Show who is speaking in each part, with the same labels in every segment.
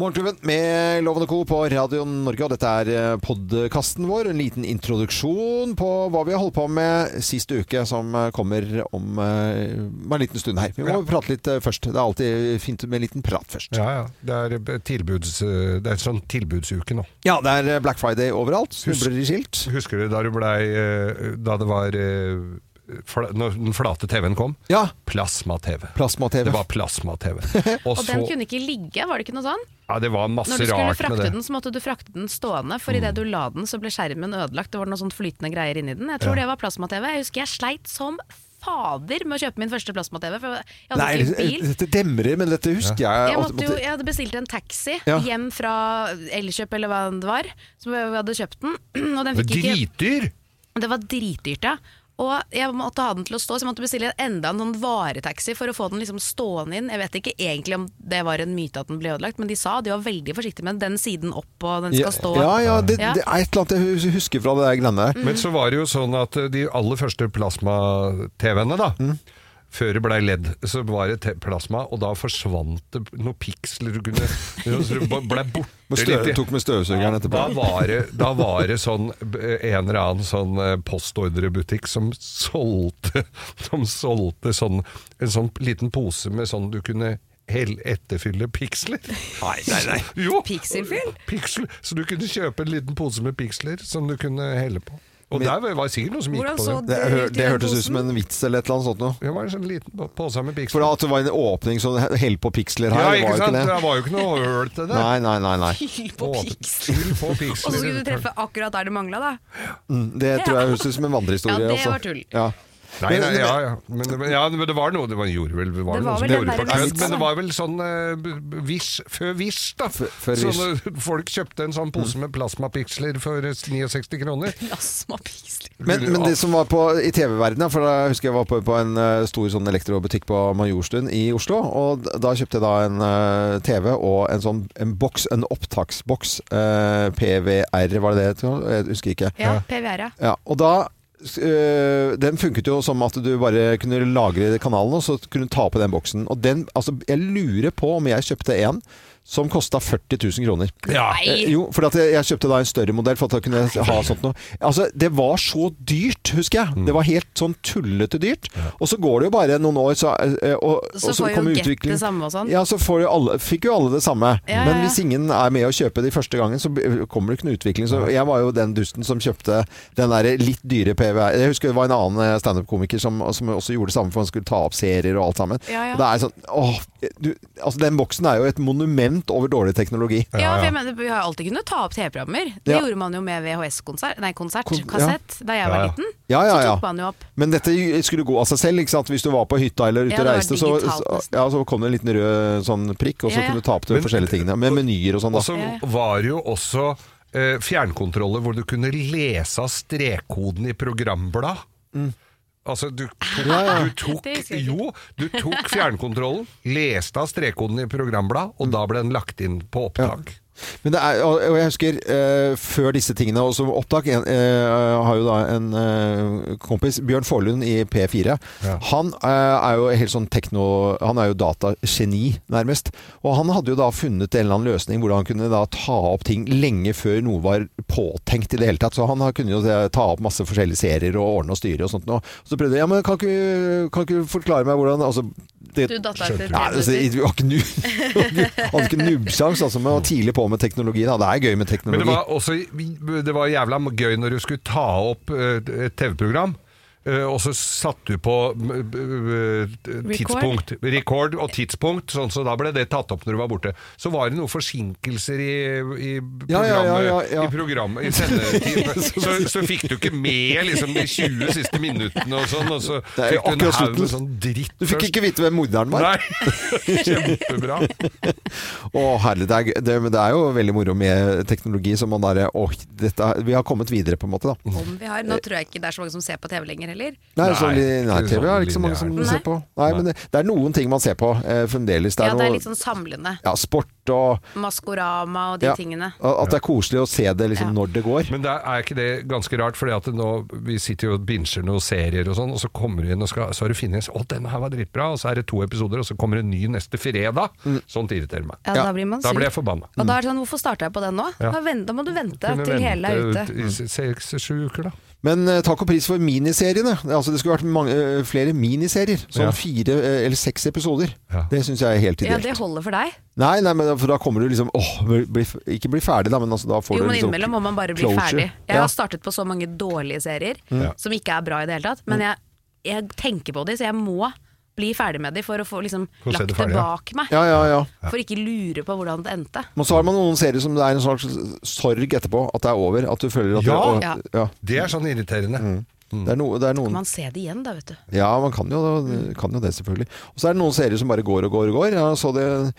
Speaker 1: Morgenklubben med Lovende Co. på Radio Norge, og dette er podkasten vår. En liten introduksjon på hva vi har holdt på med sist uke, som kommer om eh, bare en liten stund her. Vi må prate litt eh, først. Det er alltid fint med en liten prat først.
Speaker 2: Ja, ja. Det er, eh, tilbuds, det er sånn tilbudsuke nå.
Speaker 1: Ja, det er eh, Black Friday overalt.
Speaker 2: Husk-
Speaker 1: Snubler i skilt.
Speaker 2: Husker du da du blei eh, Da det var eh, fla, Når den flate TV-en kom?
Speaker 1: Ja.
Speaker 2: Plasma-TV.
Speaker 1: Plasma-TV.
Speaker 2: Det var plasma-TV. Og
Speaker 3: Og
Speaker 2: så
Speaker 3: den kunne ikke ligge, var det ikke noe sånn?
Speaker 2: Ja, det var masse
Speaker 3: Når du skulle
Speaker 2: rart med
Speaker 3: frakte
Speaker 2: det. Mm.
Speaker 3: den, så måtte du frakte den stående, for idet du la den, så ble skjermen ødelagt. Det var noe sånt flytende greier inni den. Jeg tror det var plasma-TV. Jeg husker jeg sleit som fader med å kjøpe min første plasma-TV, for jeg hadde
Speaker 1: Nei,
Speaker 3: ikke altså, bil.
Speaker 1: dette demrer, men dette husker jeg.
Speaker 2: eh,
Speaker 3: Jeg, måtte jo, jeg hadde bestilt en taxi
Speaker 1: Ja.
Speaker 3: hjem fra Elkjøp eller hva det var, som jeg hadde kjøpt den. Og den
Speaker 2: Det var
Speaker 3: fikk ikke
Speaker 2: Dritdyr!
Speaker 3: Det var dritdyrt, ja. Og jeg måtte ha den til å stå, så jeg måtte bestille enda en sånn varetaxi for å få den liksom stående inn. Jeg vet ikke egentlig om det var en myte at den ble ødelagt, men de sa de var veldig forsiktige med den siden opp og den skal stå.
Speaker 1: Ja, ja, det,
Speaker 3: Ja. Mm.
Speaker 1: det er et eller annet jeg husker fra det der greiene der.
Speaker 2: Men så var det jo sånn at eh, de aller første plasma-TV-ene, da
Speaker 1: Mm.
Speaker 2: Før det blei LED, så var det te- plasma, og da forsvant det noen piksler du kunne Så du blei borte
Speaker 1: Men
Speaker 2: litt.
Speaker 1: stø-
Speaker 2: i-
Speaker 1: Tok med støvsugeren etterpå.
Speaker 2: Da var, det, da var det sånn eh, en eller annen sånn eh, postordrebutikk som solgte, som solgte sånn, en sånn liten pose med sånn du kunne hell etterfylle piksler. Nei, nei, nei. Jo.
Speaker 3: Pikselfyll?
Speaker 2: Piksel. Så du kunne kjøpe en liten pose med piksler som du kunne helle på. Og
Speaker 1: Men-
Speaker 2: der var- var det sikkert noe som gikk
Speaker 4: Hvordan
Speaker 2: på
Speaker 4: så
Speaker 2: det.
Speaker 1: Det, hør-
Speaker 4: det ut
Speaker 1: det
Speaker 4: i den
Speaker 1: hørtes ut som
Speaker 4: posen?
Speaker 1: en vits eller et eller annet sånt noe.
Speaker 2: Det var en sånn liten pose med
Speaker 1: For
Speaker 2: piksler.
Speaker 1: at det var en åpning sånn hell på piksler her,
Speaker 2: Ja,
Speaker 1: det
Speaker 2: ikke
Speaker 1: var jo
Speaker 2: sant?
Speaker 1: ikke
Speaker 2: Det
Speaker 1: det.
Speaker 2: var jo ikke noe høl til det.
Speaker 1: Nei, nei, nei. nei.
Speaker 4: Fyll på
Speaker 2: Å,
Speaker 4: piks.
Speaker 2: fyll på
Speaker 4: Og så
Speaker 2: piksler.
Speaker 4: skulle du treffe akkurat der det mangla, da.
Speaker 1: Mm, Det tror jeg høres ut som en
Speaker 3: Ja,
Speaker 1: vandrehistorie.
Speaker 3: det
Speaker 1: altså.
Speaker 3: var tull.
Speaker 1: Ja.
Speaker 2: Nei, nei, ja, ja. Men, det- ja, men det var noe det var, gjorde vel, var det noe som
Speaker 4: var vel
Speaker 2: gjorde
Speaker 4: den
Speaker 2: på
Speaker 4: der
Speaker 2: kødd,
Speaker 4: vitsen,
Speaker 2: men det
Speaker 4: da.
Speaker 2: var vel sånn eh, b- b- Vish, før Vish, da.
Speaker 1: før Mm.
Speaker 2: Sånne- folk kjøpte en sånn pose med plasmapiksler for eh, 69 kroner.
Speaker 3: Plasmapiksel.
Speaker 1: Men, men det som var på, i TV-verdenen, for da husker jeg var på, på en eh, stor sånn elektrobutikk på Majorstuen i Oslo, og d- da kjøpte jeg da en eh, TV og en sånn en boks, en opptaksboks, eh, PVR, var det det? het? Jeg husker ikke.
Speaker 3: Ja, PVR, ja.
Speaker 1: Ja, og da øh, den funket jo som at du bare kunne lagre kanalen, og så kunne du ta på den boksen. Og den, altså, jeg lurer på om jeg kjøpte en som kosta 40 000 kroner.
Speaker 2: ja.
Speaker 3: Nei.
Speaker 1: Eh, Jo, for at jeg, jeg kjøpte da en større modell for at jeg kunne ha sånt noe. Altså, det var så dyrt, husker jeg. Det var helt sånn tullete dyrt. Og så går det jo bare noen år, så, eh, og,
Speaker 3: Så
Speaker 1: og så
Speaker 3: får jo
Speaker 1: kommer
Speaker 3: Get det
Speaker 1: utviklingen.
Speaker 3: samme og sånn.
Speaker 1: Ja, så får jo alle, fikk jo alle det samme.
Speaker 3: Ja,
Speaker 1: Men
Speaker 3: ja, ja.
Speaker 1: hvis ingen er med å kjøpe de første gangen, så b- kommer det ikke noen utvikling. Så jeg var jo den dusten som kjøpte den der litt dyre PVR. Jeg husker det var en annen eh, standup-komiker som, som også gjorde det samme, for han skulle ta opp serier og alt sammen.
Speaker 3: Ja, ja.
Speaker 1: Og det er sånn, åh, du, altså den boksen er jo et monument over dårlig teknologi.
Speaker 3: Ja, for jeg mener, Vi har alltid kunnet ta opp TV-programmer. Det
Speaker 1: Ja.
Speaker 3: gjorde man jo med VHS-konsert, nei, konsert,
Speaker 1: Kon- ja.
Speaker 3: kassett, da jeg var
Speaker 2: Ja, ja.
Speaker 3: liten.
Speaker 1: Ja, ja,
Speaker 3: Så
Speaker 1: ja.
Speaker 3: tok man jo opp.
Speaker 1: Men dette skulle gå av seg selv, ikke sant? Hvis du var på hytta eller ute
Speaker 3: Ja,
Speaker 1: og
Speaker 3: det var
Speaker 1: reiste, så,
Speaker 3: digitalt
Speaker 1: så,
Speaker 3: nesten.
Speaker 1: ja, så kom det en liten rød sånn prikk, og så
Speaker 3: Ja, ja.
Speaker 1: kunne du ta opp de
Speaker 2: Men-
Speaker 1: forskjellige tingene. Med menyer og sånn, da.
Speaker 2: Og så
Speaker 3: Ja, ja.
Speaker 2: var det jo også eh, fjernkontroller hvor du kunne lese av strekkoden i programblad.
Speaker 1: Mm.
Speaker 2: Altså, du tok, du tok
Speaker 3: Ah, Det husker jeg ikke.
Speaker 2: Jo, du tok fjernkontrollen, leste av strekkoden i programblad, og da ble den lagt inn på opptak.
Speaker 1: Men det er, og og jeg husker eh, før disse tingene, og som opptak en, eh, har jo da en eh, kompis, Bjørn Forlund i P4. Han eh, er jo helt sånn tekno... Han er jo datageni, nærmest. Og han hadde jo da funnet en eller annen løsning hvordan han kunne da ta opp ting lenge før noe var påtenkt i det hele tatt. Så han har- kunne jo det- ta opp masse forskjellige serier og ordne og styre og sånt. noe. så prøvde jeg, ja, men kan ikke du kan ikke du forklare meg hvordan altså, det,
Speaker 3: Du datt av
Speaker 2: Skjønte
Speaker 3: etter
Speaker 1: Nei,
Speaker 3: tre
Speaker 1: altså,
Speaker 3: minutter.
Speaker 1: jeg var ikke nu hadde ikke nubbsjans altså, med å tidlig på med teknologi. Da. Det er gøy med
Speaker 2: Men det
Speaker 1: teknologi.
Speaker 2: var også det var jævla gøy når du skulle ta opp eh, et TV-program. eh, og så satte du på eh, eh, tidspunkt, rekord og tidspunkt, sånn, så da ble det tatt opp når du var borte. Så var det noen forsinkelser i, i programmet,
Speaker 1: Ja, ja, ja, ja, ja.
Speaker 2: i, programmet, i sendetiden. så, så fikk du ikke med liksom, de 20 siste minuttene og sånn, og så
Speaker 1: Det er
Speaker 2: fikk du
Speaker 1: akkurat
Speaker 2: en haug
Speaker 1: slutten.
Speaker 2: med sånn dritt
Speaker 1: Du fikk ikke vite hvem morderen var?
Speaker 2: Nei, kjempebra.
Speaker 1: Å, herlig. Det er, gøy. det, men det er jo veldig moro med teknologi som man der Å, dette, er- vi har kommet videre, på en måte, da.
Speaker 3: Om vi har. Nå tror jeg ikke det er så mange som ser på TV lenger heller.
Speaker 1: Nei,
Speaker 2: Mm. Nei,
Speaker 1: sånn
Speaker 2: ikke
Speaker 1: linær-TV er det ikke så
Speaker 2: sånn
Speaker 1: mange som
Speaker 3: lineær.
Speaker 1: ser på. Nei, men det, det er noen ting man ser på eh, fremdeles. Det
Speaker 3: Ja,
Speaker 1: er
Speaker 3: det
Speaker 1: noe
Speaker 3: er litt sånn samlende.
Speaker 1: ja, sport konsert og
Speaker 3: Maskorama og de
Speaker 1: ja, Mm.
Speaker 3: tingene.
Speaker 1: At det er koselig å se det liksom,
Speaker 3: Ja.
Speaker 1: når det går.
Speaker 2: Men det er ikke det ganske rart, for vi sitter jo og binger noen serier og sånn, og så kommer du inn og skal, så har du funnet en Å, denne her var dritbra, og så er det to episoder, og så kommer en ny neste fredag. Sånt irriterer meg.
Speaker 3: Ja,
Speaker 1: Mm. Ja,
Speaker 3: da blir man
Speaker 2: Da
Speaker 3: sur.
Speaker 2: blir jeg Mm. forbanna.
Speaker 3: Og da er det sånn, hvorfor starta jeg på den nå? Da, vent, da må du vente
Speaker 2: Kunne
Speaker 3: til hele er
Speaker 2: vente
Speaker 3: ute.
Speaker 2: ut i seks-sju uker, da.
Speaker 1: Men eh, takk og pris for miniseriene. Altså, det skulle vært mange, eh, flere miniserier. Sånn
Speaker 2: Ja.
Speaker 1: fire eh, eller seks episoder.
Speaker 2: Ja.
Speaker 1: Det syns jeg er helt
Speaker 3: Ja,
Speaker 1: ideelt.
Speaker 3: det holder for deg.
Speaker 1: Nei, nei, men da- for da kommer du liksom åh, bli, Ikke bli ferdig, da, men altså, da får
Speaker 3: Jo,
Speaker 1: du
Speaker 3: men
Speaker 1: liksom
Speaker 3: innimellom må man bare bli
Speaker 1: closure.
Speaker 3: ferdig. Jeg
Speaker 1: Ja. Mm.
Speaker 3: har startet på så mange dårlige serier
Speaker 2: Ja.
Speaker 3: som ikke er bra i det hele tatt, men jeg, jeg tenker på de, så jeg må bli ferdig med de for å få liksom,
Speaker 2: For å se
Speaker 3: lagt
Speaker 2: det
Speaker 3: det
Speaker 2: ferdig, ja.
Speaker 3: bak meg.
Speaker 1: Ja, ja, ja.
Speaker 3: For ikke lure på hvordan det endte.
Speaker 1: Men så har man noen serier som det er en slags sorg etterpå, at det er over. At du føler at det,
Speaker 2: Ja!
Speaker 1: og,
Speaker 3: Ja.
Speaker 1: ja. Mm.
Speaker 2: Det er sånn irriterende. Mm.
Speaker 1: Det, er no, det er noen
Speaker 3: Man ser det igjen da, vet du.
Speaker 1: Ja, man kan jo, kan jo det, selvfølgelig. Og så er det noen serier som bare går og går og går. Jeg så det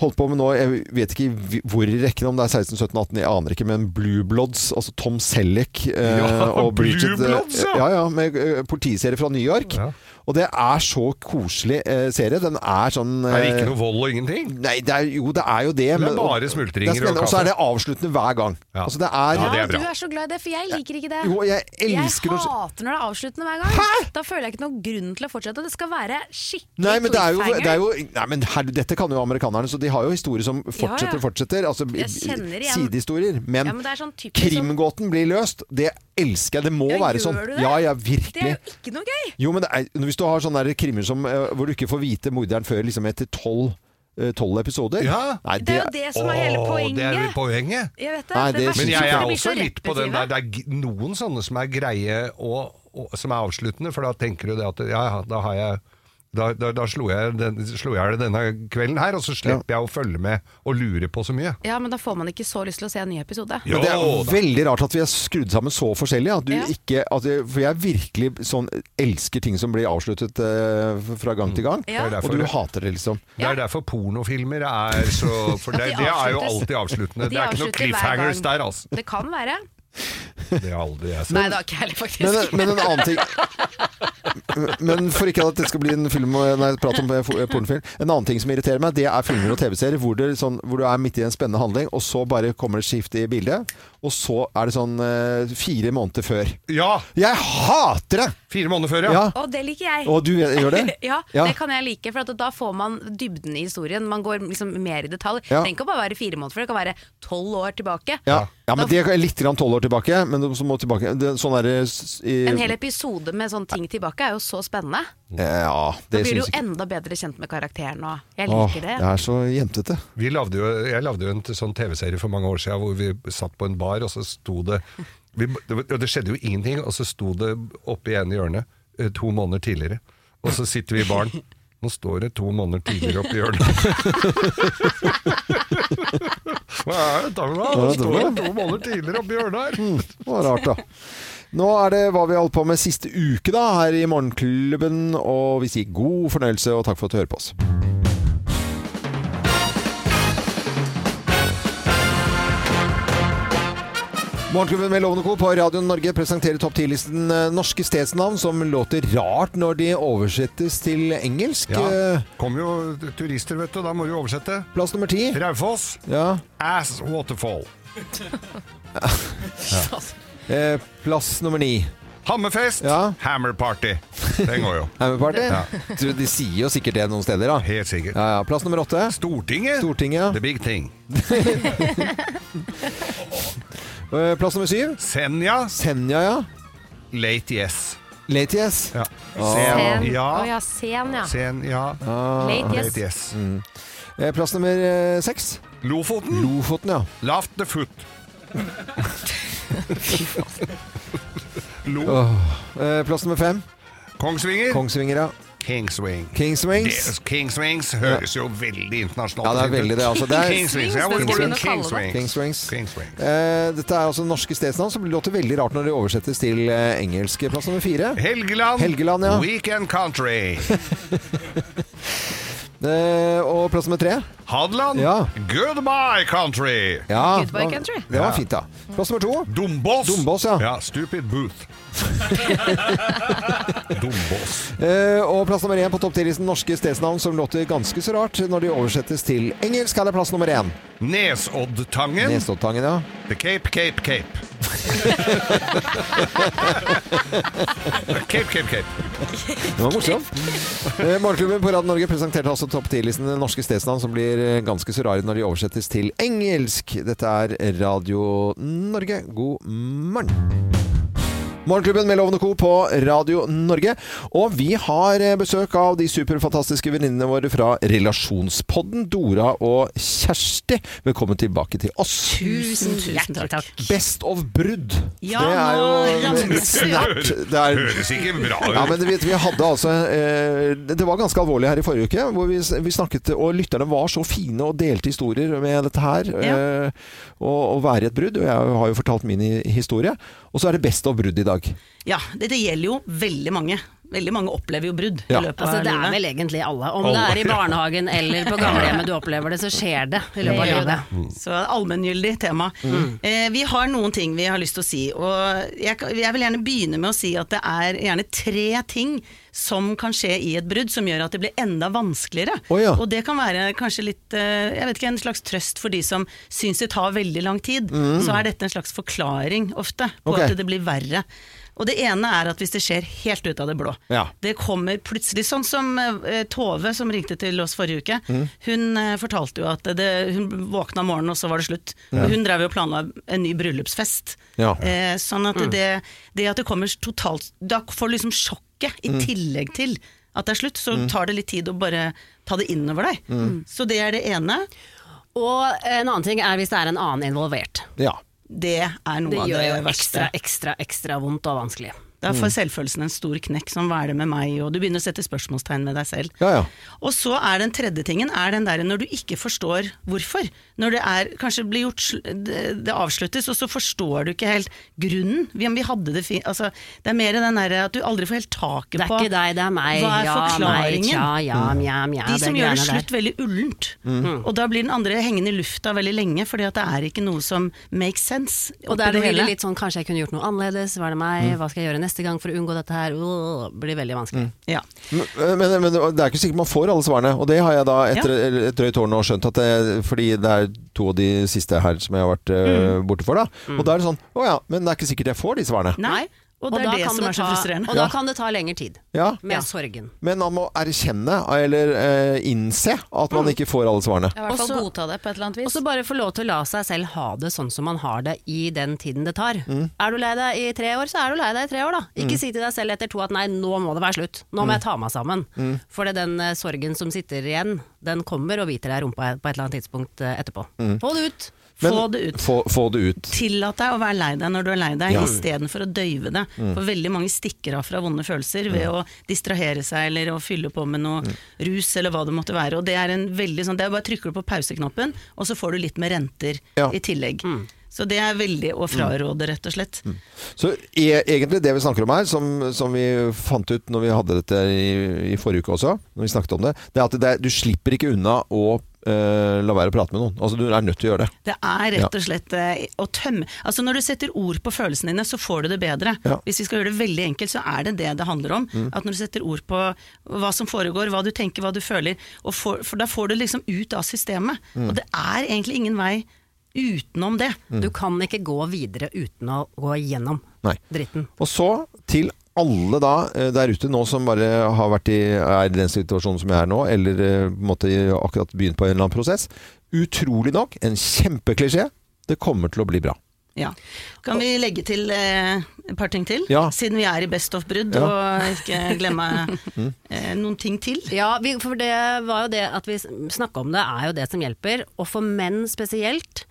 Speaker 1: holdt på med nå, jeg vet ikke hvi- hvor i rekken, om det er 16, 17, 18, jeg aner ikke, men Blue Bloods, altså Tom Selleck eh,
Speaker 2: Ja,
Speaker 1: og
Speaker 2: Blue
Speaker 1: Bridget eh,
Speaker 2: Bloods, ja!
Speaker 1: ja! ja, med eh, politiserier fra New York.
Speaker 2: Ja.
Speaker 1: Og det er så koselig eh, serie. Den er sånn
Speaker 2: Er det
Speaker 1: eh,
Speaker 2: ikke noe vold og ingenting?
Speaker 1: Nei, det er, jo, det er jo det. men-
Speaker 2: bare
Speaker 1: og-
Speaker 2: smultringer
Speaker 1: det er spennende,
Speaker 2: og
Speaker 1: Og så er
Speaker 2: kaffe.
Speaker 1: det avsluttende hver gang.
Speaker 2: Ja.
Speaker 1: Altså, det er,
Speaker 2: Ja,
Speaker 3: Ja,
Speaker 2: det er bra.
Speaker 3: Du er så glad i det, for jeg liker ikke det.
Speaker 1: Jo, jeg
Speaker 3: jeg
Speaker 1: elsker å-
Speaker 3: hater når det er avsluttende hver gang. Da føler jeg ikke noen grunn til å fortsette. Det skal være skikkelig
Speaker 1: Nei, men det er jo,
Speaker 3: cliffhanger.
Speaker 1: det er jo Nei, men her, dette kan jo amerikanerne, så de har jo historier som fortsetter
Speaker 3: Ja,
Speaker 1: og
Speaker 3: ja.
Speaker 1: fortsetter. Altså
Speaker 3: Jeg kjenner igjen.
Speaker 1: sidehistorier. Men,
Speaker 3: Ja, men det er sånn typisk sånn-
Speaker 1: krimgåten blir løst. Det elsker jeg. Det må
Speaker 3: Ja,
Speaker 1: være
Speaker 3: gjør
Speaker 1: sånn.
Speaker 3: du det?
Speaker 1: Ja, ja,
Speaker 3: Det er jo
Speaker 1: virkelig.
Speaker 3: ikke noe gøy!
Speaker 1: Jo, men det er, hvis du har sånne der krimmer som, eh, hvor du ikke får vite morderen før liksom etter tolv eh, tolv episoder
Speaker 2: Ja.
Speaker 1: Nei,
Speaker 3: Det er jo det som er hele
Speaker 2: Åh,
Speaker 3: poenget.
Speaker 2: Det er jo poenget.
Speaker 3: Jeg vet det.
Speaker 1: Nei, det
Speaker 3: det verste
Speaker 2: Men
Speaker 1: synes
Speaker 2: jeg
Speaker 1: jeg
Speaker 2: er
Speaker 3: det blir så
Speaker 2: også litt på den
Speaker 3: repetitivt.
Speaker 2: der. Det er g- noen sånne som er greie og, og som er avsluttende, for da tenker du det at ja, ja, da har jeg da, da, da slo jeg den- slo jeg det denne kvelden her, og så slipper jeg å følge med og lure på så mye.
Speaker 3: Ja, men da får man ikke så lyst til å se en ny episode.
Speaker 2: Jo,
Speaker 1: Men det
Speaker 2: da.
Speaker 1: er veldig rart at vi er skrudd sammen så forskjellig. At du
Speaker 3: Ja.
Speaker 1: ikke, at jeg, for jeg virkelig sånn, elsker ting som blir avsluttet eh, fra gang til gang.
Speaker 3: Ja.
Speaker 2: Mm. Det er
Speaker 1: Og
Speaker 2: derfor
Speaker 1: du
Speaker 2: det-
Speaker 1: hater det, liksom.
Speaker 2: Det er derfor pornofilmer er så For
Speaker 3: At de
Speaker 2: det, det er jo
Speaker 3: avsluttes-
Speaker 2: alltid avsluttende.
Speaker 3: de
Speaker 2: Det er ikke noe
Speaker 3: avslutter hver
Speaker 2: cliffhangers
Speaker 3: gang.
Speaker 2: der, altså.
Speaker 3: Det kan være.
Speaker 2: Det er aldri jeg
Speaker 3: Nei, det har ikke jeg heller, faktisk.
Speaker 1: Men, men en annen ting Men for ikke at det skal bli en film Nei, prat om eh, pornofilm En annen ting som irriterer meg, det er filmer og tv-serier hvor, det sånn, hvor du er midt i en spennende handling Og så bare kommer det skift i bildet Og så er det sånn eh, fire måneder før
Speaker 2: Ja!
Speaker 1: Jeg hater det!
Speaker 2: Fire måneder før, ja.
Speaker 1: Ja,
Speaker 3: Og det liker jeg.
Speaker 1: og du gjør det?
Speaker 3: Ja,
Speaker 1: Ja.
Speaker 3: det kan jeg like, for at da får man dybden i historien. Man går liksom mer i detalj. Det
Speaker 1: Ja.
Speaker 3: trenger ikke å bare være fire måneder, for det kan være tolv år tilbake.
Speaker 1: Ja, ja men det er litt grann 12 år tilbake Men så må tilbake det, Sånn er det s- i,
Speaker 3: En hel episode med sånne ting tilbake er jo så spennende.
Speaker 1: Ja,
Speaker 3: Da
Speaker 1: det
Speaker 3: blir du
Speaker 1: synes
Speaker 3: jo
Speaker 1: jeg
Speaker 3: enda bedre kjent med karakteren, og jeg
Speaker 1: Åh,
Speaker 3: liker
Speaker 1: det
Speaker 3: det.
Speaker 1: er så jentete
Speaker 2: Vi lavde jo, jeg lagde jo en t- sånn TV-serie for mange år siden hvor vi satt på en bar, og så sto det vi, det, var- og det skjedde jo ingenting, og så sto det oppe i ene hjørnet eh, to måneder tidligere. Og så sitter vi i baren. Nå står det to måneder tidligere oppi hjørnet. Hva er dette for noe? Nå står det to måneder tidligere oppi hjørnet her.
Speaker 1: Det var Mm. rart, da. Nå er det hva vi holdt på med siste uke da, her i Morgenklubben. Og vi sier god fornøyelse, og takk for at du hører på oss. Morgenklubben med Lovende Co. på Radio Norge presenterer topp 10-listen eh, norske stedsnavn som låter rart når de oversettes til engelsk.
Speaker 2: Ja,
Speaker 1: Eh,
Speaker 2: Kommer jo turister, vet du. Da må du jo oversette.
Speaker 1: Plass nummer ti.
Speaker 2: Raufoss,
Speaker 1: Ja.
Speaker 2: ass waterfall.
Speaker 1: Eh, Plass nummer ni.
Speaker 2: Hammerfest,
Speaker 1: Ja.
Speaker 2: hammer party. Den går jo.
Speaker 1: Hammerparty. Du, De sier jo sikkert det noen steder, da.
Speaker 2: Helt sikkert.
Speaker 1: Ja, ja. Plass nummer åtte.
Speaker 2: Stortinget,
Speaker 1: Stortinget.
Speaker 2: the big thing.
Speaker 1: Eh, Plass nummer syv.
Speaker 2: Senja,
Speaker 1: Senja, ja.
Speaker 2: late yes.
Speaker 1: Late yes. Ah.
Speaker 3: Sen.
Speaker 2: Ja. Sen,
Speaker 3: Å
Speaker 2: ja.
Speaker 3: ja, sen, ja.
Speaker 2: Sen, ja.
Speaker 3: Late, yes.
Speaker 2: Late yes.
Speaker 1: Eh, Plass nummer eh, seks.
Speaker 2: Lofoten,
Speaker 1: Lofoten, ja.
Speaker 2: laft the foot. Lo
Speaker 1: Eh, Plass nummer fem.
Speaker 2: Kongsvinger,
Speaker 1: Kongsvinger, ja.
Speaker 2: Kingswing.
Speaker 1: Kingswings.
Speaker 2: Det- Kingswings høres jo veldig internasjonalt
Speaker 1: Ja, det er
Speaker 2: ut.
Speaker 1: veldig det, altså. Det er
Speaker 2: Kingswings, ja, hvorfor
Speaker 1: Kingswings.
Speaker 2: Kingswings?
Speaker 1: Kingswings.
Speaker 2: Kingswings.
Speaker 1: Eh, dette er altså norske stedsnavn som låter veldig rart når de oversettes til eh, engelsk. Plass nummer fire.
Speaker 2: Helgeland,
Speaker 1: Helgeland, ja.
Speaker 2: weekend country.
Speaker 1: Eh, og plass nummer tre?
Speaker 2: Hadeland,
Speaker 1: Ja.
Speaker 2: goodbye country!
Speaker 1: Ja,
Speaker 3: Goodbye
Speaker 1: da-
Speaker 3: Country.
Speaker 1: Det var fint, da. Plass nummer to?
Speaker 2: Dombås!
Speaker 1: Dombås, ja.
Speaker 2: Stupid Booth. Dombås.
Speaker 1: Eh, og plass nummer én på topp 10-listen norske stedsnavn som låter ganske så rart når de oversettes til engelsk. Her er plass nummer én.
Speaker 2: Nesoddtangen.
Speaker 1: Nesoddtangen, ja.
Speaker 2: The Cape, Cape, Cape. cape, Cape, Cape.
Speaker 1: Det var morsomt. Eh, Morgenklubben på Radio Norge presenterte altså topp 10-listen norske stedsnavn som blir eh, ganske så rare når de oversettes til engelsk. Dette er Radio Norge. God morgen. Morgenklubben med Lovende Co. på Radio Norge. Og vi har eh, besøk av de superfantastiske venninnene våre fra Relasjonspodden, Dora og Kjersti. Velkommen tilbake til oss.
Speaker 3: Tusen, tusen takk.
Speaker 1: Best of brudd.
Speaker 3: Ja,
Speaker 1: det
Speaker 3: nå
Speaker 1: er jo
Speaker 3: ramser vi
Speaker 1: snert. Det er
Speaker 2: Høres ikke bra ut.
Speaker 1: ja, men du vet, vi hadde altså eh, Det var ganske alvorlig her i forrige uke, hvor vi, vi snakket Og lytterne var så fine og delte historier med dette her.
Speaker 3: Ja.
Speaker 1: Eh, og, og være i et brudd. Og jeg har jo fortalt min i- historie. Og så er det best av brudd i dag.
Speaker 4: Ja, dette gjelder jo veldig mange. Veldig mange opplever jo brudd
Speaker 1: Ja.
Speaker 4: i løpet av
Speaker 5: Altså, det er
Speaker 4: livet.
Speaker 5: vel egentlig alle. Om det
Speaker 2: Alle,
Speaker 5: er i
Speaker 2: ja.
Speaker 5: barnehagen eller på gamlehjemmet du opplever det, så skjer det i løpet av
Speaker 3: gjør
Speaker 5: livet.
Speaker 4: Så allmenngyldig tema.
Speaker 1: Mm.
Speaker 4: Eh, vi har noen ting vi har lyst til å si, og jeg, kan- jeg vil gjerne begynne med å si at det er gjerne tre ting som kan skje i et brudd som gjør at det blir enda vanskeligere.
Speaker 1: Å ja.
Speaker 4: Og det kan være kanskje litt eh, Jeg vet ikke, en slags trøst for de som syns det tar veldig lang tid. Så er dette en slags forklaring ofte på
Speaker 1: Mm. Ok.
Speaker 4: at det blir verre. Og det ene er at hvis det skjer helt ut av det blå,
Speaker 1: Ja.
Speaker 4: det kommer plutselig Sånn som eh, Tove som ringte til oss forrige uke.
Speaker 1: Mm.
Speaker 4: Hun eh, fortalte jo at det, hun våkna om morgenen, og så var det slutt. Hun drev jo og planla en ny bryllupsfest.
Speaker 1: Ja.
Speaker 4: Eh, sånn at
Speaker 5: Mm.
Speaker 4: det, det at det kommer totalt Da får du liksom sjokket i
Speaker 1: Mm.
Speaker 4: tillegg til at det er slutt. Så tar det litt tid å bare ta det innover deg.
Speaker 1: Mm.
Speaker 4: Så det er det ene.
Speaker 5: Mm. Og en annen ting er hvis det er en annen involvert.
Speaker 1: Ja.
Speaker 4: Det er noe
Speaker 5: Det
Speaker 4: av
Speaker 5: gjør jo
Speaker 4: det verste.
Speaker 5: ekstra, ekstra, ekstra vondt og vanskelig.
Speaker 4: Da
Speaker 1: Mm.
Speaker 4: får selvfølelsen en stor knekk. Sånn, hva er det med meg? Og du begynner å sette spørsmålstegn med deg selv.
Speaker 1: Ja, ja.
Speaker 4: Og så er den tredje tingen er den der når du ikke forstår hvorfor. Når det er, kanskje blir gjort, sl- det, det avsluttes, og så forstår du ikke helt grunnen. Vi, vi hadde det fint altså, Det er mer den derre at du aldri får helt taket
Speaker 5: Det er
Speaker 4: på
Speaker 5: ikke deg, det er meg.
Speaker 4: Hva er
Speaker 5: ja, meg,
Speaker 4: forklaringen?
Speaker 5: tja, ja,
Speaker 1: Mm.
Speaker 5: mja, mja,
Speaker 4: De
Speaker 5: det
Speaker 4: som gjør det
Speaker 5: greiene der.
Speaker 4: slutt veldig ullent.
Speaker 5: Mm.
Speaker 4: Og da blir den andre hengende i lufta veldig lenge, fordi at det er ikke noe som makes sense.
Speaker 5: Og
Speaker 4: oppi
Speaker 5: der
Speaker 4: det
Speaker 5: blir det
Speaker 4: hele.
Speaker 5: litt sånn kanskje jeg kunne gjort noe annerledes, var det meg, hva skal jeg gjøre neste gang for å unngå dette her, Åh, blir veldig vanskelig.
Speaker 4: Ja.
Speaker 1: Men, eh, men, men det er ikke sikkert man får alle svarene. Og det har jeg da etter et drøyt år nå skjønt, at det, fordi det er to av de siste her som jeg har vært eh, borte for. da Og da er det sånn Å ja, men det er ikke sikkert jeg får de svarene.
Speaker 5: Mm.
Speaker 4: Nei. Og det
Speaker 5: da
Speaker 4: er det
Speaker 5: kan
Speaker 4: som er så
Speaker 5: ta-
Speaker 4: frustrerende.
Speaker 5: Og da kan det ta lengre tid,
Speaker 1: Ja.
Speaker 5: med sorgen.
Speaker 1: Men man må erkjenne, eller eh, innse, at man ikke får alle svarene.
Speaker 3: I hvert fall
Speaker 5: Også-
Speaker 3: godta det på et eller annet
Speaker 5: Og
Speaker 3: vis.
Speaker 5: så bare få lov til å la seg selv ha det sånn som man har det i den tiden det tar. Er du lei deg i tre år, så er du lei deg i tre år, da. Ikke si til deg selv etter to at nei, nå må det være slutt. Nå må jeg ta meg sammen.
Speaker 1: Mm.
Speaker 5: For det er den eh, sorgen som sitter igjen, den kommer og biter deg i rumpa på et eller annet tidspunkt eh, etterpå. Få det ut!
Speaker 1: Mm. Men-
Speaker 4: Få det ut.
Speaker 1: Få, få det ut.
Speaker 4: Tillat deg å være lei deg når du er lei deg,
Speaker 1: Ja. Mm.
Speaker 4: istedenfor å døyve det. For veldig mange stikker av fra vonde følelser ved å distrahere seg eller å fylle på med
Speaker 1: Mm.
Speaker 4: noe rus eller hva det måtte være. Og det er en veldig sånn, det er bare trykker du på pauseknappen, og så får du litt med renter
Speaker 1: Ja. Mm.
Speaker 4: i tillegg. Så det er veldig å fraråde, rett og slett.
Speaker 1: Så e egentlig det vi snakker om her, som, som vi fant ut når vi hadde dette i, i forrige uke også, når vi snakket om det, det er at det, er- du slipper ikke unna å eh, la være å prate med noen. Altså du er nødt til å gjøre det.
Speaker 4: Det er
Speaker 1: Ja.
Speaker 4: rett og slett eh, å tømme Altså Når du setter ord på følelsene dine, så får du det bedre.
Speaker 1: Ja. Mm.
Speaker 4: Hvis vi skal gjøre det veldig enkelt, så er det det det handler om. At når du setter ord på hva som foregår, hva du tenker, hva du føler, og får- for da får du liksom ut av systemet.
Speaker 1: Mm.
Speaker 4: Og det er egentlig ingen vei utenom det.
Speaker 5: Du kan ikke gå videre uten å gå igjennom
Speaker 1: Nei.
Speaker 4: Mm.
Speaker 5: dritten.
Speaker 1: Og så til alle da eh, der ute nå som bare har vært i, er i den situasjonen som jeg er nå, eller eh, på en måte akkurat begynt på en eller annen prosess. Utrolig nok, en kjempeklisjé. Det kommer til å bli bra.
Speaker 4: Ja. Kan vi legge til eh, et par ting til?
Speaker 1: Ja.
Speaker 4: Siden vi er i Best of-brudd,
Speaker 1: Ja. Mm.
Speaker 4: og ikke glemme eh, noen ting til.
Speaker 5: Ja, vi, for det var jo det at vi snakka om det, er jo det som hjelper. Og for menn spesielt,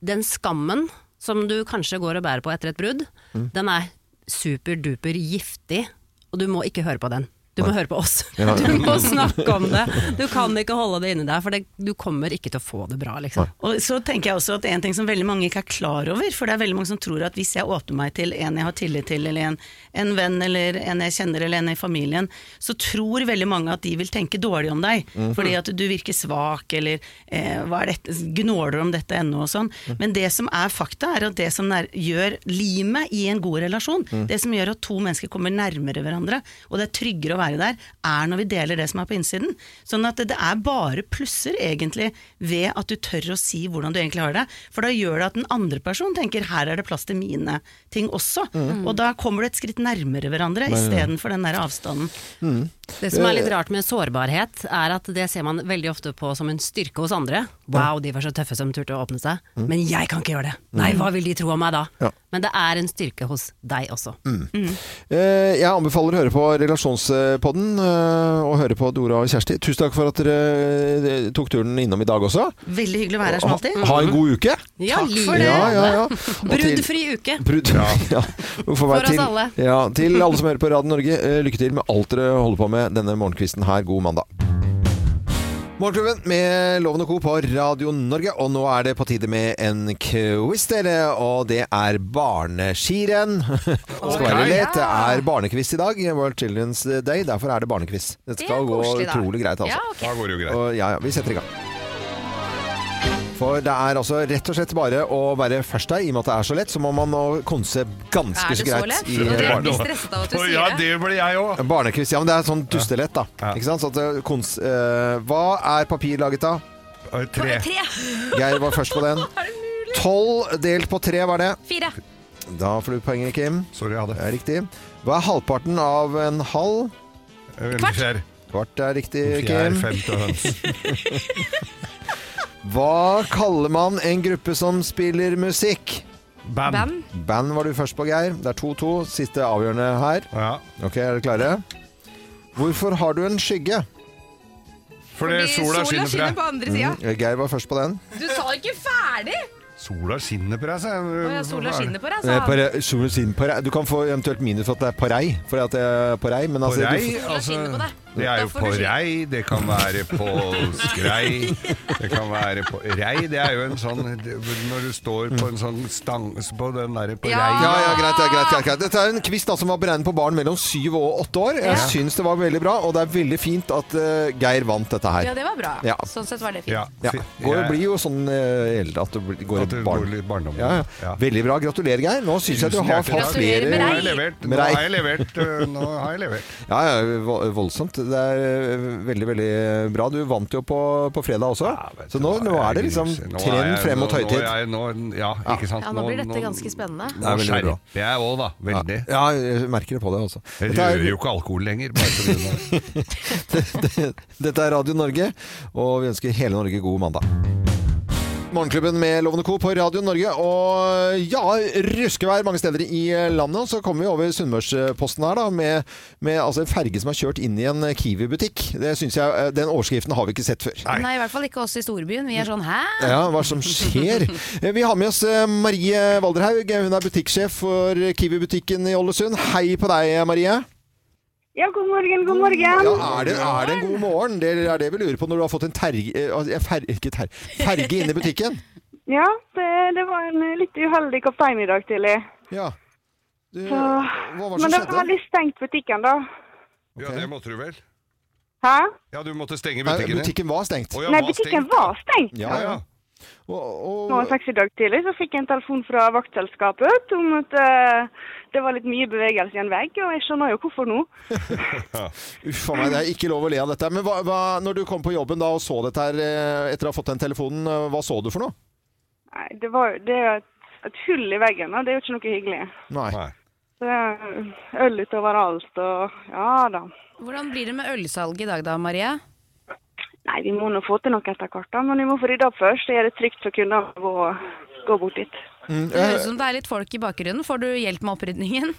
Speaker 5: den skammen som du kanskje går og bærer
Speaker 4: Mm.
Speaker 5: på etter et brudd, den er superduper giftig, og du må ikke høre på den. Du må høre på oss.
Speaker 1: Ja.
Speaker 5: Du må snakke om det. Du kan ikke holde det inni deg, for det, du kommer ikke til å få det bra, liksom.
Speaker 4: Og så tenker jeg også at en ting som veldig mange ikke er klar over, for det er veldig mange som tror at hvis jeg åpner meg til en jeg har tillit til, eller en, en venn, eller en jeg kjenner, eller en i familien, så tror veldig mange at de vil tenke dårlig om deg, fordi at du virker svak, eller eh, hva er dette, gnåler om dette ennå og sånn.
Speaker 1: Mm.
Speaker 4: Men det som er fakta, er at det som nær, gjør limet i en god relasjon,
Speaker 1: Mm.
Speaker 4: det som gjør at to mennesker kommer nærmere hverandre, og det er tryggere å være der, er når vi deler det som er på innsiden. Sånn at det, det er bare plusser, egentlig, ved at du tør å si hvordan du egentlig har det. For da gjør det at den andre personen tenker her er det plass til mine ting også.
Speaker 1: Mm.
Speaker 4: Og da kommer du et skritt nærmere hverandre istedenfor den der avstanden.
Speaker 5: Det som
Speaker 1: Eh,
Speaker 5: er litt
Speaker 4: Eh.
Speaker 5: rart med sårbarhet, er at det ser man veldig ofte på som en styrke hos andre. Wow, de var så tøffe som turte å åpne seg. Men jeg kan ikke gjøre det! Nei, hva vil de tro om meg da?
Speaker 1: Ja.
Speaker 5: Men det er en styrke hos deg også.
Speaker 1: Eh, Jeg anbefaler å høre på Relasjonspodden, eh, og høre på Dora og Kjersti. Tusen takk for at dere eh, tok turen innom i dag også.
Speaker 4: Veldig hyggelig å være her som alltid.
Speaker 1: Ha en god uke!
Speaker 5: Ja,
Speaker 4: Takk for
Speaker 5: livet.
Speaker 4: det.
Speaker 1: Ja, ja, ja. Og til-
Speaker 5: Bruddfri uke!
Speaker 1: Brudd. Ja. For,
Speaker 5: oss
Speaker 1: til,
Speaker 5: alle.
Speaker 1: Ja, til alle som hører på Radio Norge, eh, lykke til med alt dere holder på med denne morgenkvisten her. God mandag. Morgenklubben med Loven og Co. på Radio Norge, og nå er det på tide med en quiz, dere. Og det er barneskirenn. Det skal være lett. Det er barnequiz i dag, World Children's Day. Derfor er det barnequiz. Det
Speaker 3: Det er
Speaker 1: skal gå
Speaker 3: koselig, da.
Speaker 1: utrolig greit, altså.
Speaker 3: Ja, ok.
Speaker 2: Da går det jo greit.
Speaker 1: Og, ja, ja, vi setter i gang. For det er altså rett og slett bare å være først her, i og med at det er så lett, så må man nå konse
Speaker 3: Er
Speaker 1: ganske
Speaker 3: det
Speaker 1: så
Speaker 3: så
Speaker 1: greit
Speaker 3: lett?
Speaker 1: i
Speaker 3: Det er
Speaker 1: barne-
Speaker 3: blir stresset av at du
Speaker 2: Å,
Speaker 3: sier
Speaker 2: Ja,
Speaker 3: det.
Speaker 2: det ble jeg òg.
Speaker 1: barnekviss. Ja, men det er sånn dustelett, da. Ikke sant? Så at eh, kons... eh, hva er papir laget av?
Speaker 2: Tre.
Speaker 3: Tre,
Speaker 1: Geir var først på den. Tolv delt på tre var det.
Speaker 3: fire,
Speaker 1: Da får du poenget, Kim.
Speaker 2: Sorry, jeg
Speaker 1: Det
Speaker 2: hadde
Speaker 1: er riktig. Hva er halvparten av en halv?
Speaker 2: en
Speaker 3: Kvart.
Speaker 2: fjær.
Speaker 1: Kvart er riktig, Kim.
Speaker 2: Fjær, femte høns.
Speaker 1: Hva kaller man en gruppe som spiller musikk?
Speaker 2: Band.
Speaker 3: band,
Speaker 1: Band var du først på, Geir. Det er 2-2. Siste avgjørende her.
Speaker 2: Ja.
Speaker 1: Ok, er dere klare? Hvorfor har du en skygge? Mhm.
Speaker 2: Fordi sola skinner på deg.
Speaker 3: på andre sida.
Speaker 1: Geir var først på den.
Speaker 3: Du sa ikke ferdig!
Speaker 2: Sola skinner på deg, sa jeg.
Speaker 3: Å ja, sola
Speaker 2: Hva er det?
Speaker 3: skinner på
Speaker 1: Eh,
Speaker 3: deg, sa han.
Speaker 1: Du kan få eventuelt minus for at det er på rei, for at det er på rei, men
Speaker 2: På
Speaker 1: altså
Speaker 2: rei,
Speaker 1: du-
Speaker 3: Sola
Speaker 2: altså.
Speaker 3: skinner på deg.
Speaker 2: Det er
Speaker 3: Da
Speaker 2: jo
Speaker 3: får
Speaker 2: på
Speaker 3: du skinn.
Speaker 2: rei, det kan være på skrei, det kan være på Rei, det er jo en sånn det- Når du står på en sånn stang på den derre på
Speaker 3: Ja.
Speaker 1: Ja,
Speaker 2: rei
Speaker 1: ja, greit, ja, greit, greit, greit. Dette er en quiz da, som var beregnet på barn mellom syv og åtte år. Jeg
Speaker 3: Ja.
Speaker 1: syns det var veldig bra, og det er veldig fint at eh, Geir vant dette her.
Speaker 3: Ja, det var bra.
Speaker 1: Ja.
Speaker 3: Sånn sett var det
Speaker 2: Ja.
Speaker 3: fint.
Speaker 1: Ja.
Speaker 2: fi-
Speaker 1: Går,
Speaker 2: jeg-
Speaker 1: blir jo sånn eh, eldre at det blir- går
Speaker 2: At det
Speaker 1: i
Speaker 2: går litt barndom.
Speaker 1: Ja, ja.
Speaker 2: Ja.
Speaker 1: Veldig bra. Gratulerer, Geir. Nå syns jeg at du har
Speaker 2: Tusen hjertelig
Speaker 1: fått
Speaker 2: takk.
Speaker 3: Gratulerer med
Speaker 1: flere
Speaker 2: Nå
Speaker 3: rei.
Speaker 2: har jeg levert.
Speaker 1: Med
Speaker 2: Nå
Speaker 1: rei.
Speaker 2: har jeg levert. øh, Nå har jeg levert.
Speaker 1: Ja, ja, vo- voldsomt. Det er eh, veldig, veldig bra. Du vant jo på, på fredag også.
Speaker 2: Ja, vet
Speaker 1: så
Speaker 2: du
Speaker 1: nå,
Speaker 2: hva,
Speaker 1: nå er det
Speaker 2: jeg
Speaker 1: liksom
Speaker 2: gruser. Nå er
Speaker 1: trend
Speaker 2: jeg-
Speaker 1: frem
Speaker 2: nå-
Speaker 1: og tøytid.
Speaker 2: nå er jeg- nå- Ja, ikke sant.
Speaker 3: Ja, nå blir dette ganske spennende.
Speaker 1: Det er
Speaker 2: Nå
Speaker 1: veldig bra.
Speaker 2: skjerper jeg òg, da. Veldig.
Speaker 1: Ja, jeg merker det på deg også.
Speaker 2: Jeg
Speaker 1: Dette
Speaker 2: rører
Speaker 1: er,
Speaker 2: jo ikke alkohol lenger. Bare på grunn av det.
Speaker 1: dette er Radio Norge, og vi ønsker hele Norge god mandag. Morgenklubben med Lovende Co. på Radio Norge. Og ja, ruskevær mange steder i landet. Og så kommer vi over Sunnmørsposten her, da, med, med altså en ferge som er kjørt inn i en Kiwi-butikk. Det synes jeg, eh, Den overskriften har vi ikke sett før.
Speaker 3: Nei, i hvert fall ikke oss i storbyen. Vi er sånn hæ?
Speaker 1: Ja, hva som skjer? Eh, Vi har med oss eh, Marie Walderhaug. Hun er butikksjef for Kiwi-butikken i Ålesund. Hei på deg, Marie.
Speaker 6: Ja, god morgen, god morgen.
Speaker 1: Ja, er det, er det en god morgen? Det er det vi lurer på når du har fått en terg, eh, en fer, ikke ter, ferge inn i butikken.
Speaker 6: Ja, det, det var en eh, litt uheldig kaptein i dag tidlig.
Speaker 1: Ja. Du,
Speaker 6: Så,
Speaker 1: hva var
Speaker 6: men
Speaker 1: det som
Speaker 6: det var
Speaker 1: skjedde?
Speaker 6: litt stengt butikken da.
Speaker 2: Ja, det måtte du vel?
Speaker 6: Hæ?
Speaker 2: Ja, du måtte stenge
Speaker 1: Nei,
Speaker 2: butikken din.
Speaker 1: butikken var stengt.
Speaker 2: Å, ja,
Speaker 6: Nei,
Speaker 2: var
Speaker 6: butikken
Speaker 2: stengt.
Speaker 6: var stengt.
Speaker 1: Ja,
Speaker 2: Ja,
Speaker 1: ja.
Speaker 2: ja.
Speaker 1: Og,
Speaker 6: Nå
Speaker 1: og,
Speaker 6: seks i dag tidlig så fikk jeg en telefon fra vaktselskapet om at eh, det var litt mye bevegelse i en vegg, og jeg skjønner jo hvorfor nå.
Speaker 1: uff a meg, det er ikke lov å le av dette. Men hva, hva, når du kom på jobben da og så dette her eh, etter å ha fått den telefonen, eh, hva så du for noe?
Speaker 6: Nei, det, var, det er jo et, et hull i veggen, og det er jo ikke noe hyggelig.
Speaker 1: Nei.
Speaker 2: Nei.
Speaker 6: Det er øl ut overalt, og ja da.
Speaker 3: Hvordan blir det med ølsalget i dag da, Marie?
Speaker 6: Nei, vi må nå få til noe etter hvert, da, men vi må få rydda opp først. Så er det trygt for kundene å gå, gå bort dit.
Speaker 1: Mm,
Speaker 3: Det høres
Speaker 1: eh,
Speaker 3: ut som det er litt folk i bakgrunnen. Får du hjelp med opprydningen?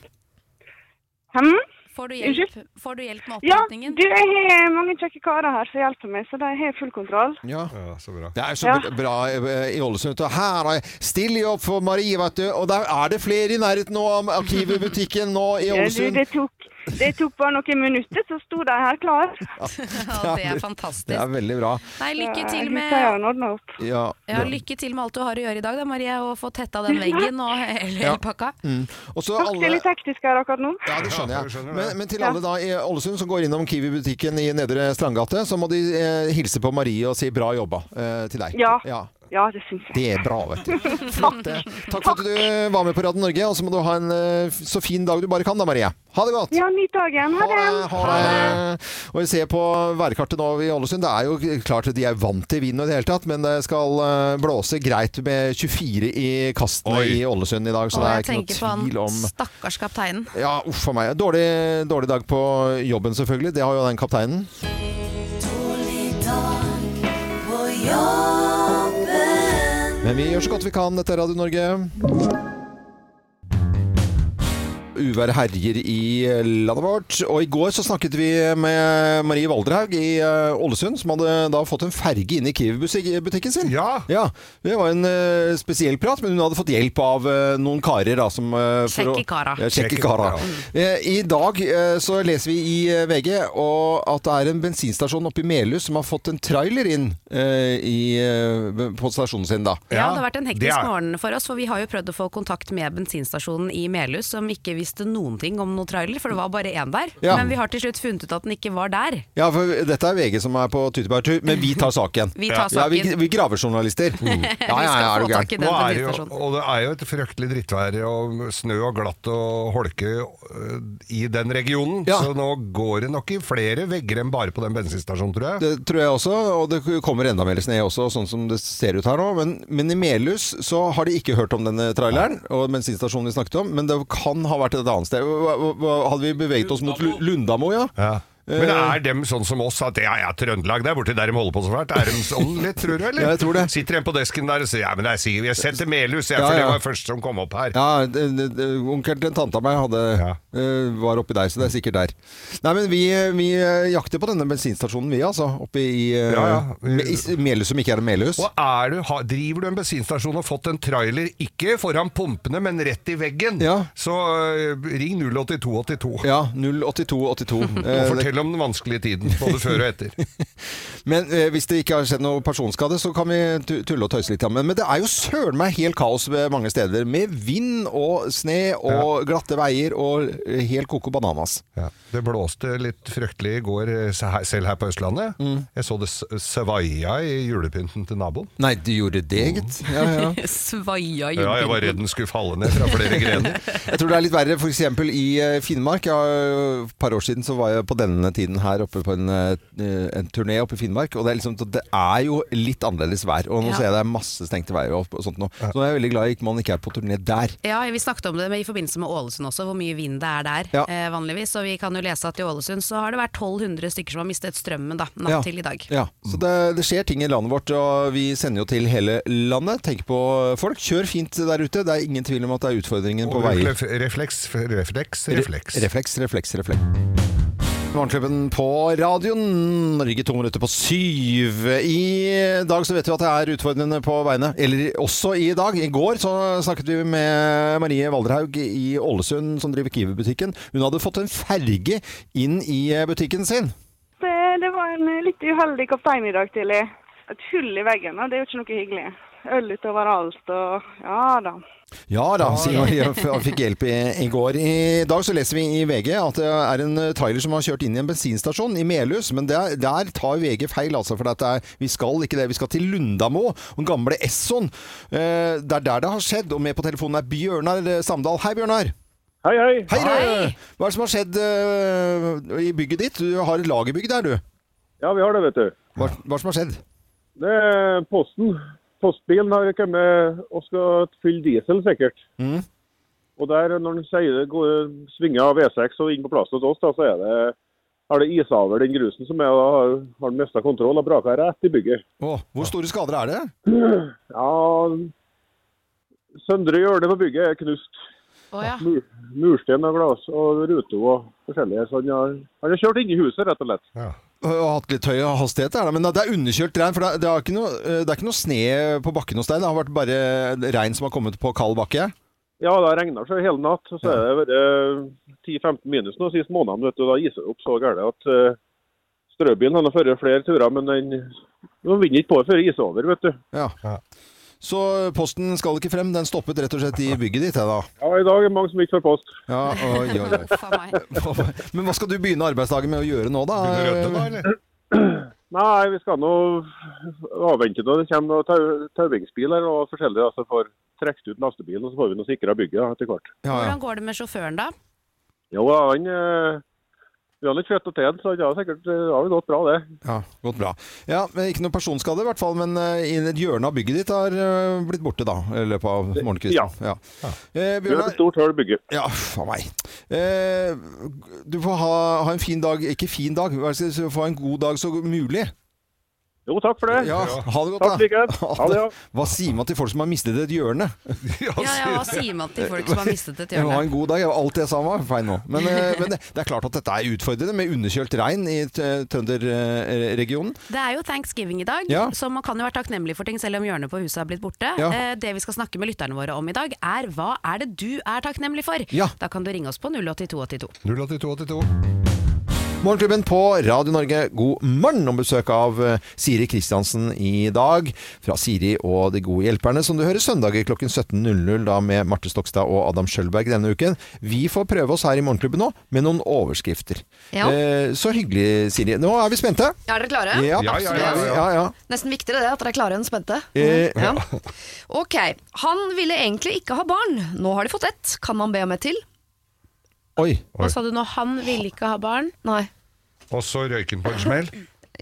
Speaker 6: Hm?
Speaker 3: Får du hjelp,
Speaker 6: Unnskyld?
Speaker 3: Får du hjelp med
Speaker 6: Ja,
Speaker 3: opprydningen?
Speaker 6: du, jeg har mange kjekke karer her som hjelper meg, så de har full kontroll.
Speaker 1: ja.
Speaker 2: Ja, så bra.
Speaker 1: Det er så
Speaker 6: Ja.
Speaker 1: bra eh, i Ålesund. vet du. Her er stille jobb for Marie, vet du. Og der er det flere i nærheten nå av Kiwi-butikken nå i
Speaker 6: Ja, Eh, Du,
Speaker 1: Ålesund.
Speaker 6: det tok, Det tok bare noen minutter, så sto de her klar.
Speaker 3: Ja, det er fantastisk.
Speaker 1: Det er veldig bra.
Speaker 3: Nei, lykke til
Speaker 6: Ja,
Speaker 3: med
Speaker 6: hun ordna opp.
Speaker 1: Ja.
Speaker 3: ja, lykke til med alt du har å gjøre i dag, da, Marie, og få tetta den veggen og hele
Speaker 1: Ja.
Speaker 3: pakka.
Speaker 1: Mm. Og så
Speaker 6: Dere er
Speaker 1: alle
Speaker 6: litt hektiske her akkurat nå.
Speaker 1: Ja, det skjønner jeg.
Speaker 2: Ja, jeg skjønner det.
Speaker 1: men, men til alle da i Ålesund som går innom Kiwi-butikken i Nedre Strandgate, så må de eh, hilse på Marie og si 'bra jobba' eh, til deg.
Speaker 6: Ja. Ja, det syns jeg.
Speaker 1: Det er bra, vet du. Flott. det. Takk for at du var med på Radio Norge, og så må du ha en eh, så fin dag du bare kan da, Marie. Ha det godt.
Speaker 6: Ja, nyt dagen. Ha det.
Speaker 1: Ha det. Eh, Og vi ser på værkartet nå i Ålesund. Det er jo klart at de er vant til vind og i det hele tatt, men det skal eh, blåse greit med 24 i kastene
Speaker 2: Oi.
Speaker 1: i Ålesund i dag, så
Speaker 3: Og
Speaker 1: det
Speaker 3: jeg
Speaker 1: er
Speaker 3: tenker
Speaker 1: ikke
Speaker 3: på
Speaker 1: noe tvil om
Speaker 3: han stakkars kapteinen.
Speaker 1: ja, uff a meg. Dårlig, dårlig dag på jobben, selvfølgelig. Det har jo den kapteinen. Men vi gjør så godt vi kan. Dette er Radio Norge. Uvær herjer i landet vårt. Og i går så snakket vi med Marie Valderhaug i eh, Ålesund, som hadde da fått en ferge inn i Kiwi-butikken sin.
Speaker 2: Ja.
Speaker 1: Ja, Det var en eh, spesiell prat, men hun hadde fått hjelp av eh, noen karer. da, som... eh, for å-
Speaker 3: Kjekke karer.
Speaker 1: Ja, kjekke
Speaker 2: Kjekke
Speaker 1: karer.
Speaker 2: karer.
Speaker 1: Eh, I dag eh, så leser vi i eh, VG og at det er en bensinstasjon oppe i Melhus som har fått en trailer inn eh, i, eh, på stasjonen sin. da.
Speaker 3: Ja,
Speaker 2: Ja,
Speaker 3: det har vært en
Speaker 2: det
Speaker 3: hektisk
Speaker 2: er-
Speaker 3: morgen for oss, for vi har jo prøvd å få kontakt med bensinstasjonen i Melhus, som ikke visste noen ting om noen trailer, for det var bare én der.
Speaker 1: Ja.
Speaker 3: Men vi har til slutt funnet ut at den ikke var der.
Speaker 1: Ja, for Dette er VG som er på tyttebærtur, men vi tar saken.
Speaker 3: Vi tar
Speaker 1: Ja, vi,
Speaker 3: saken.
Speaker 1: vi gravejournalister. Ja, ja, ja, er du
Speaker 3: få tak i
Speaker 1: gæren.
Speaker 3: den
Speaker 2: Nå er det jo,
Speaker 3: bensinstasjonen.
Speaker 2: og det er jo et fryktelig drittvær og snø og glatt og holke øh, i den regionen.
Speaker 1: Ja.
Speaker 2: Så nå går det nok i flere vegger enn bare på den bensinstasjonen, tror jeg.
Speaker 1: Det tror jeg også, og det kommer enda mer sne også, sånn som det ser ut her nå. Men, men i Melhus så har de ikke hørt om denne traileren og bensinstasjonen vi snakket om, men det kan ha vært et annet sted. Hva- hva- hva- Hadde vi beveget oss mot Lu- Lundamo, ja?
Speaker 2: Ja. Men
Speaker 1: Eh.
Speaker 2: er dem sånn som oss at ja, ja, Trøndelag, det er borti der de holder på så fælt? Er de sånn litt, tror du, eller?
Speaker 1: Ja, jeg tror det.
Speaker 2: Sitter en på desken der og sier ja, men jeg sier, jeg sendte Melhus, jeg,
Speaker 1: Ja,
Speaker 2: for
Speaker 1: ja.
Speaker 2: det var først som kom opp her.
Speaker 1: Ja, det- det- det- onkelen til en tante av meg hadde,
Speaker 2: Ja.
Speaker 1: eh, var oppi der, så det er sikkert der. Nei, men vi, vi eh, jakter på denne bensinstasjonen vi, altså. Oppe i, eh,
Speaker 2: Ja, ja.
Speaker 1: Me- i Melhus som ikke er en Melhus.
Speaker 2: Og er du, har- Driver du en bensinstasjon og fått en trailer ikke foran pumpene, men rett i veggen,
Speaker 1: Ja.
Speaker 2: så øh, ring 08282.
Speaker 1: Ja, 08282.
Speaker 2: Og
Speaker 1: Eh, det-
Speaker 2: fortell om den vanskelige tiden, både før og etter.
Speaker 1: Men eh, hvis det ikke har skjedd noe personskade, så kan vi tu- tulle og tøyse litt sammen. Men det er jo søren meg helt kaos ved mange steder. Med vind og sne og glatte veier og eh, helt koko bananas.
Speaker 2: Det blåste litt fryktelig i går, eh, se- her- selv her på Østlandet.
Speaker 1: Mm.
Speaker 2: Jeg så det s- svaia i julepynten til naboen. Mm.
Speaker 1: Nei, du gjorde det, gitt. Ja, ja.
Speaker 3: Svaia
Speaker 2: Ja, jeg var
Speaker 3: julepynt.
Speaker 2: redd den skulle falle ned fra flere grener.
Speaker 1: Jeg tror det er litt verre f.eks. i eh, Finnmark. Ja, eh, et par år siden så var jeg på denne tiden her oppe på en, eh, en turné oppe i Finnmark. Og det er, liksom, det er jo litt annerledes vær. Og nå
Speaker 3: Ja.
Speaker 1: ser jeg det er masse stengte veier og sånt nå. Så nå er jeg veldig glad man ikke er på turné der.
Speaker 3: Ja, vi snakket om det med, i forbindelse med Ålesund også, hvor mye vind det er der
Speaker 1: Ja.
Speaker 3: eh, vanligvis. Og vi kan jo lese at i Ålesund så har det vært 1200 stykker som har mistet strømmen da, natt
Speaker 1: Ja.
Speaker 3: til i dag.
Speaker 1: Ja, så det, det skjer ting i landet vårt, og vi sender jo til hele landet. Tenk på folk, kjør fint der ute. Det er ingen tvil om at det er utfordringen på
Speaker 2: Og
Speaker 1: veier.
Speaker 2: Refleks, refleks, refleks. refleks.
Speaker 1: Refleks, refleks, refleks. Morgenklubben på radioen. Norge to minutter på syv. I dag så vet vi at det er utfordrende på veiene. Eller også i dag. I går så snakket vi med Marie Valderhaug i Ålesund, som driver Kiwi-butikken. Hun hadde fått en ferge inn i butikken sin.
Speaker 6: Det, det var en eh, litt uheldig kaptein i dag tidlig. Et hull i veggen, og det er jo ikke noe hyggelig. Øl utover alt og ja da.
Speaker 1: Ja da, sier Marie. Han fikk hjelp i, i går. I dag så leser vi i VG at det er en eh, trailer som har kjørt inn i en bensinstasjon i Melhus. Men der, der tar VG feil, altså. For dette er, vi skal ikke det. Vi skal til Lundamo, den gamle Esson. Eh, det er der det har skjedd. Og med på telefonen er Bjørnar eh, Samdal. Hei, Bjørnar.
Speaker 7: Hei, hei.
Speaker 1: Hei, du! Hva er det som har skjedd eh, i bygget ditt? Du har et lagerbygg der, du.
Speaker 7: Ja, vi har det, vet du.
Speaker 1: Hva, hva er det som har skjedd?
Speaker 7: Det er posten. Postbilen har kommet og skal fylle diesel, sikkert.
Speaker 1: Mhm.
Speaker 7: Og der, når den sier det går, svinger av V6 og inn på plassen hos oss, da, så er det, har det isa over den grusen som er, og har, har den mista kontroll og braka rett i bygget.
Speaker 1: Å, hvor store skader er det?
Speaker 7: Ja, søndre hjørne på bygget er knust.
Speaker 3: Å ja.
Speaker 7: Mur, murstein og glass og ruter og forskjellige. Så han har, han har kjørt inn i huset, rett og slett.
Speaker 2: Ja.
Speaker 1: Og hatt litt høy hastighet, er det, men det er underkjølt regn. For det er, eh, det, er ikke noe, det er ikke noe sne på bakken hos deg. Det har vært bare regn som har kommet på kald bakke.
Speaker 7: Ja, det har regna seg hele natt. og Så er det vært 10-15 minus nå sist måned. Vet du, da iser det opp så gærent at uh, strøbilen har ført flere turer, men den den vinner ikke på før det iser over, vet du.
Speaker 1: Ja. Så posten skal ikke frem. Den stoppet rett og slett i bygget ditt, jeg da.
Speaker 7: Ja, I dag er det mange som ikke får post.
Speaker 1: Ja, oi, oi, oi.
Speaker 3: Faen meg.
Speaker 1: Men hva skal du begynne arbeidsdagen med å gjøre nå, da?
Speaker 2: Begynner rødde da, eller?
Speaker 7: Nei, vi skal nå avvente når det kommer noen tau- tauingsbiler og altså, forskjellige da, som får trukket ut lastebilen, og så får vi noe sikra bygget da, etter hvert.
Speaker 1: Ja, ja.
Speaker 3: Hvordan går det med sjåføren, da?
Speaker 7: Jo, da, han eh, Vi har litt fett og ted, så det har sikkert eh, det har jo gått bra, det.
Speaker 1: Ja, gått bra. Ja, men Ikke noe personskade i hvert fall, men eh, i et hjørne av bygget ditt har eh, blitt borte da, i løpet av
Speaker 7: Ja.
Speaker 1: morgenkvisten. Ja. Eh,
Speaker 7: Det er et
Speaker 1: Bjørnar,
Speaker 7: stort hull bygget.
Speaker 1: ja, faen meg. Eh, du får ha, ha en fin dag, ikke fin dag, hva skal jeg si, få en god dag så mulig.
Speaker 7: Jo, takk for det.
Speaker 1: Ja, ha det godt da.
Speaker 7: Takk likeens. Ha det, ja.
Speaker 1: Hva sier man til folk som har mistet et hjørne?
Speaker 3: Ja, ja, Hva sier man til folk som har mistet et
Speaker 1: Ha
Speaker 3: hjørne?
Speaker 1: en god dag. Ja, Alt det jeg sa var feil nå. Men, eh, men det, det er klart at dette er utfordrende med underkjølt regn i Trønderregionen.
Speaker 3: Det er jo thanksgiving i dag,
Speaker 1: Ja.
Speaker 3: så man kan jo være takknemlig for ting selv om hjørnet på huset har blitt borte.
Speaker 1: Ja.
Speaker 3: Eh, det vi skal snakke med lytterne våre om i dag, er hva er det du er takknemlig for?
Speaker 1: Ja.
Speaker 3: Da kan du ringe oss på 08282.
Speaker 2: 08282.
Speaker 1: Morgenklubben på Radio Norge, god morgen om besøk av eh, Siri Kristiansen i dag. Fra Siri og De gode hjelperne, som du hører søndager klokken 17.00 da med Marte Stokstad og Adam Schjølberg denne uken. Vi får prøve oss her i Morgenklubben nå med noen overskrifter.
Speaker 8: Ja.
Speaker 1: Eh, så hyggelig, Siri. Nå er vi spente.
Speaker 8: Er dere klare?
Speaker 1: Ja,
Speaker 2: Ja, ja,
Speaker 1: absolutt.
Speaker 2: ja, ja.
Speaker 1: ja, ja.
Speaker 8: Nesten viktigere det, at dere er klare enn spente. Mhm.
Speaker 1: Eh,
Speaker 8: Mm, Ja. Ok. Han ville egentlig ikke ha barn. Nå har de fått ett. Kan man be om et til?
Speaker 1: Oi.
Speaker 3: Hva sa du nå? Han ville ikke ha barn?
Speaker 8: Nei.
Speaker 2: Og så røyken på en smell.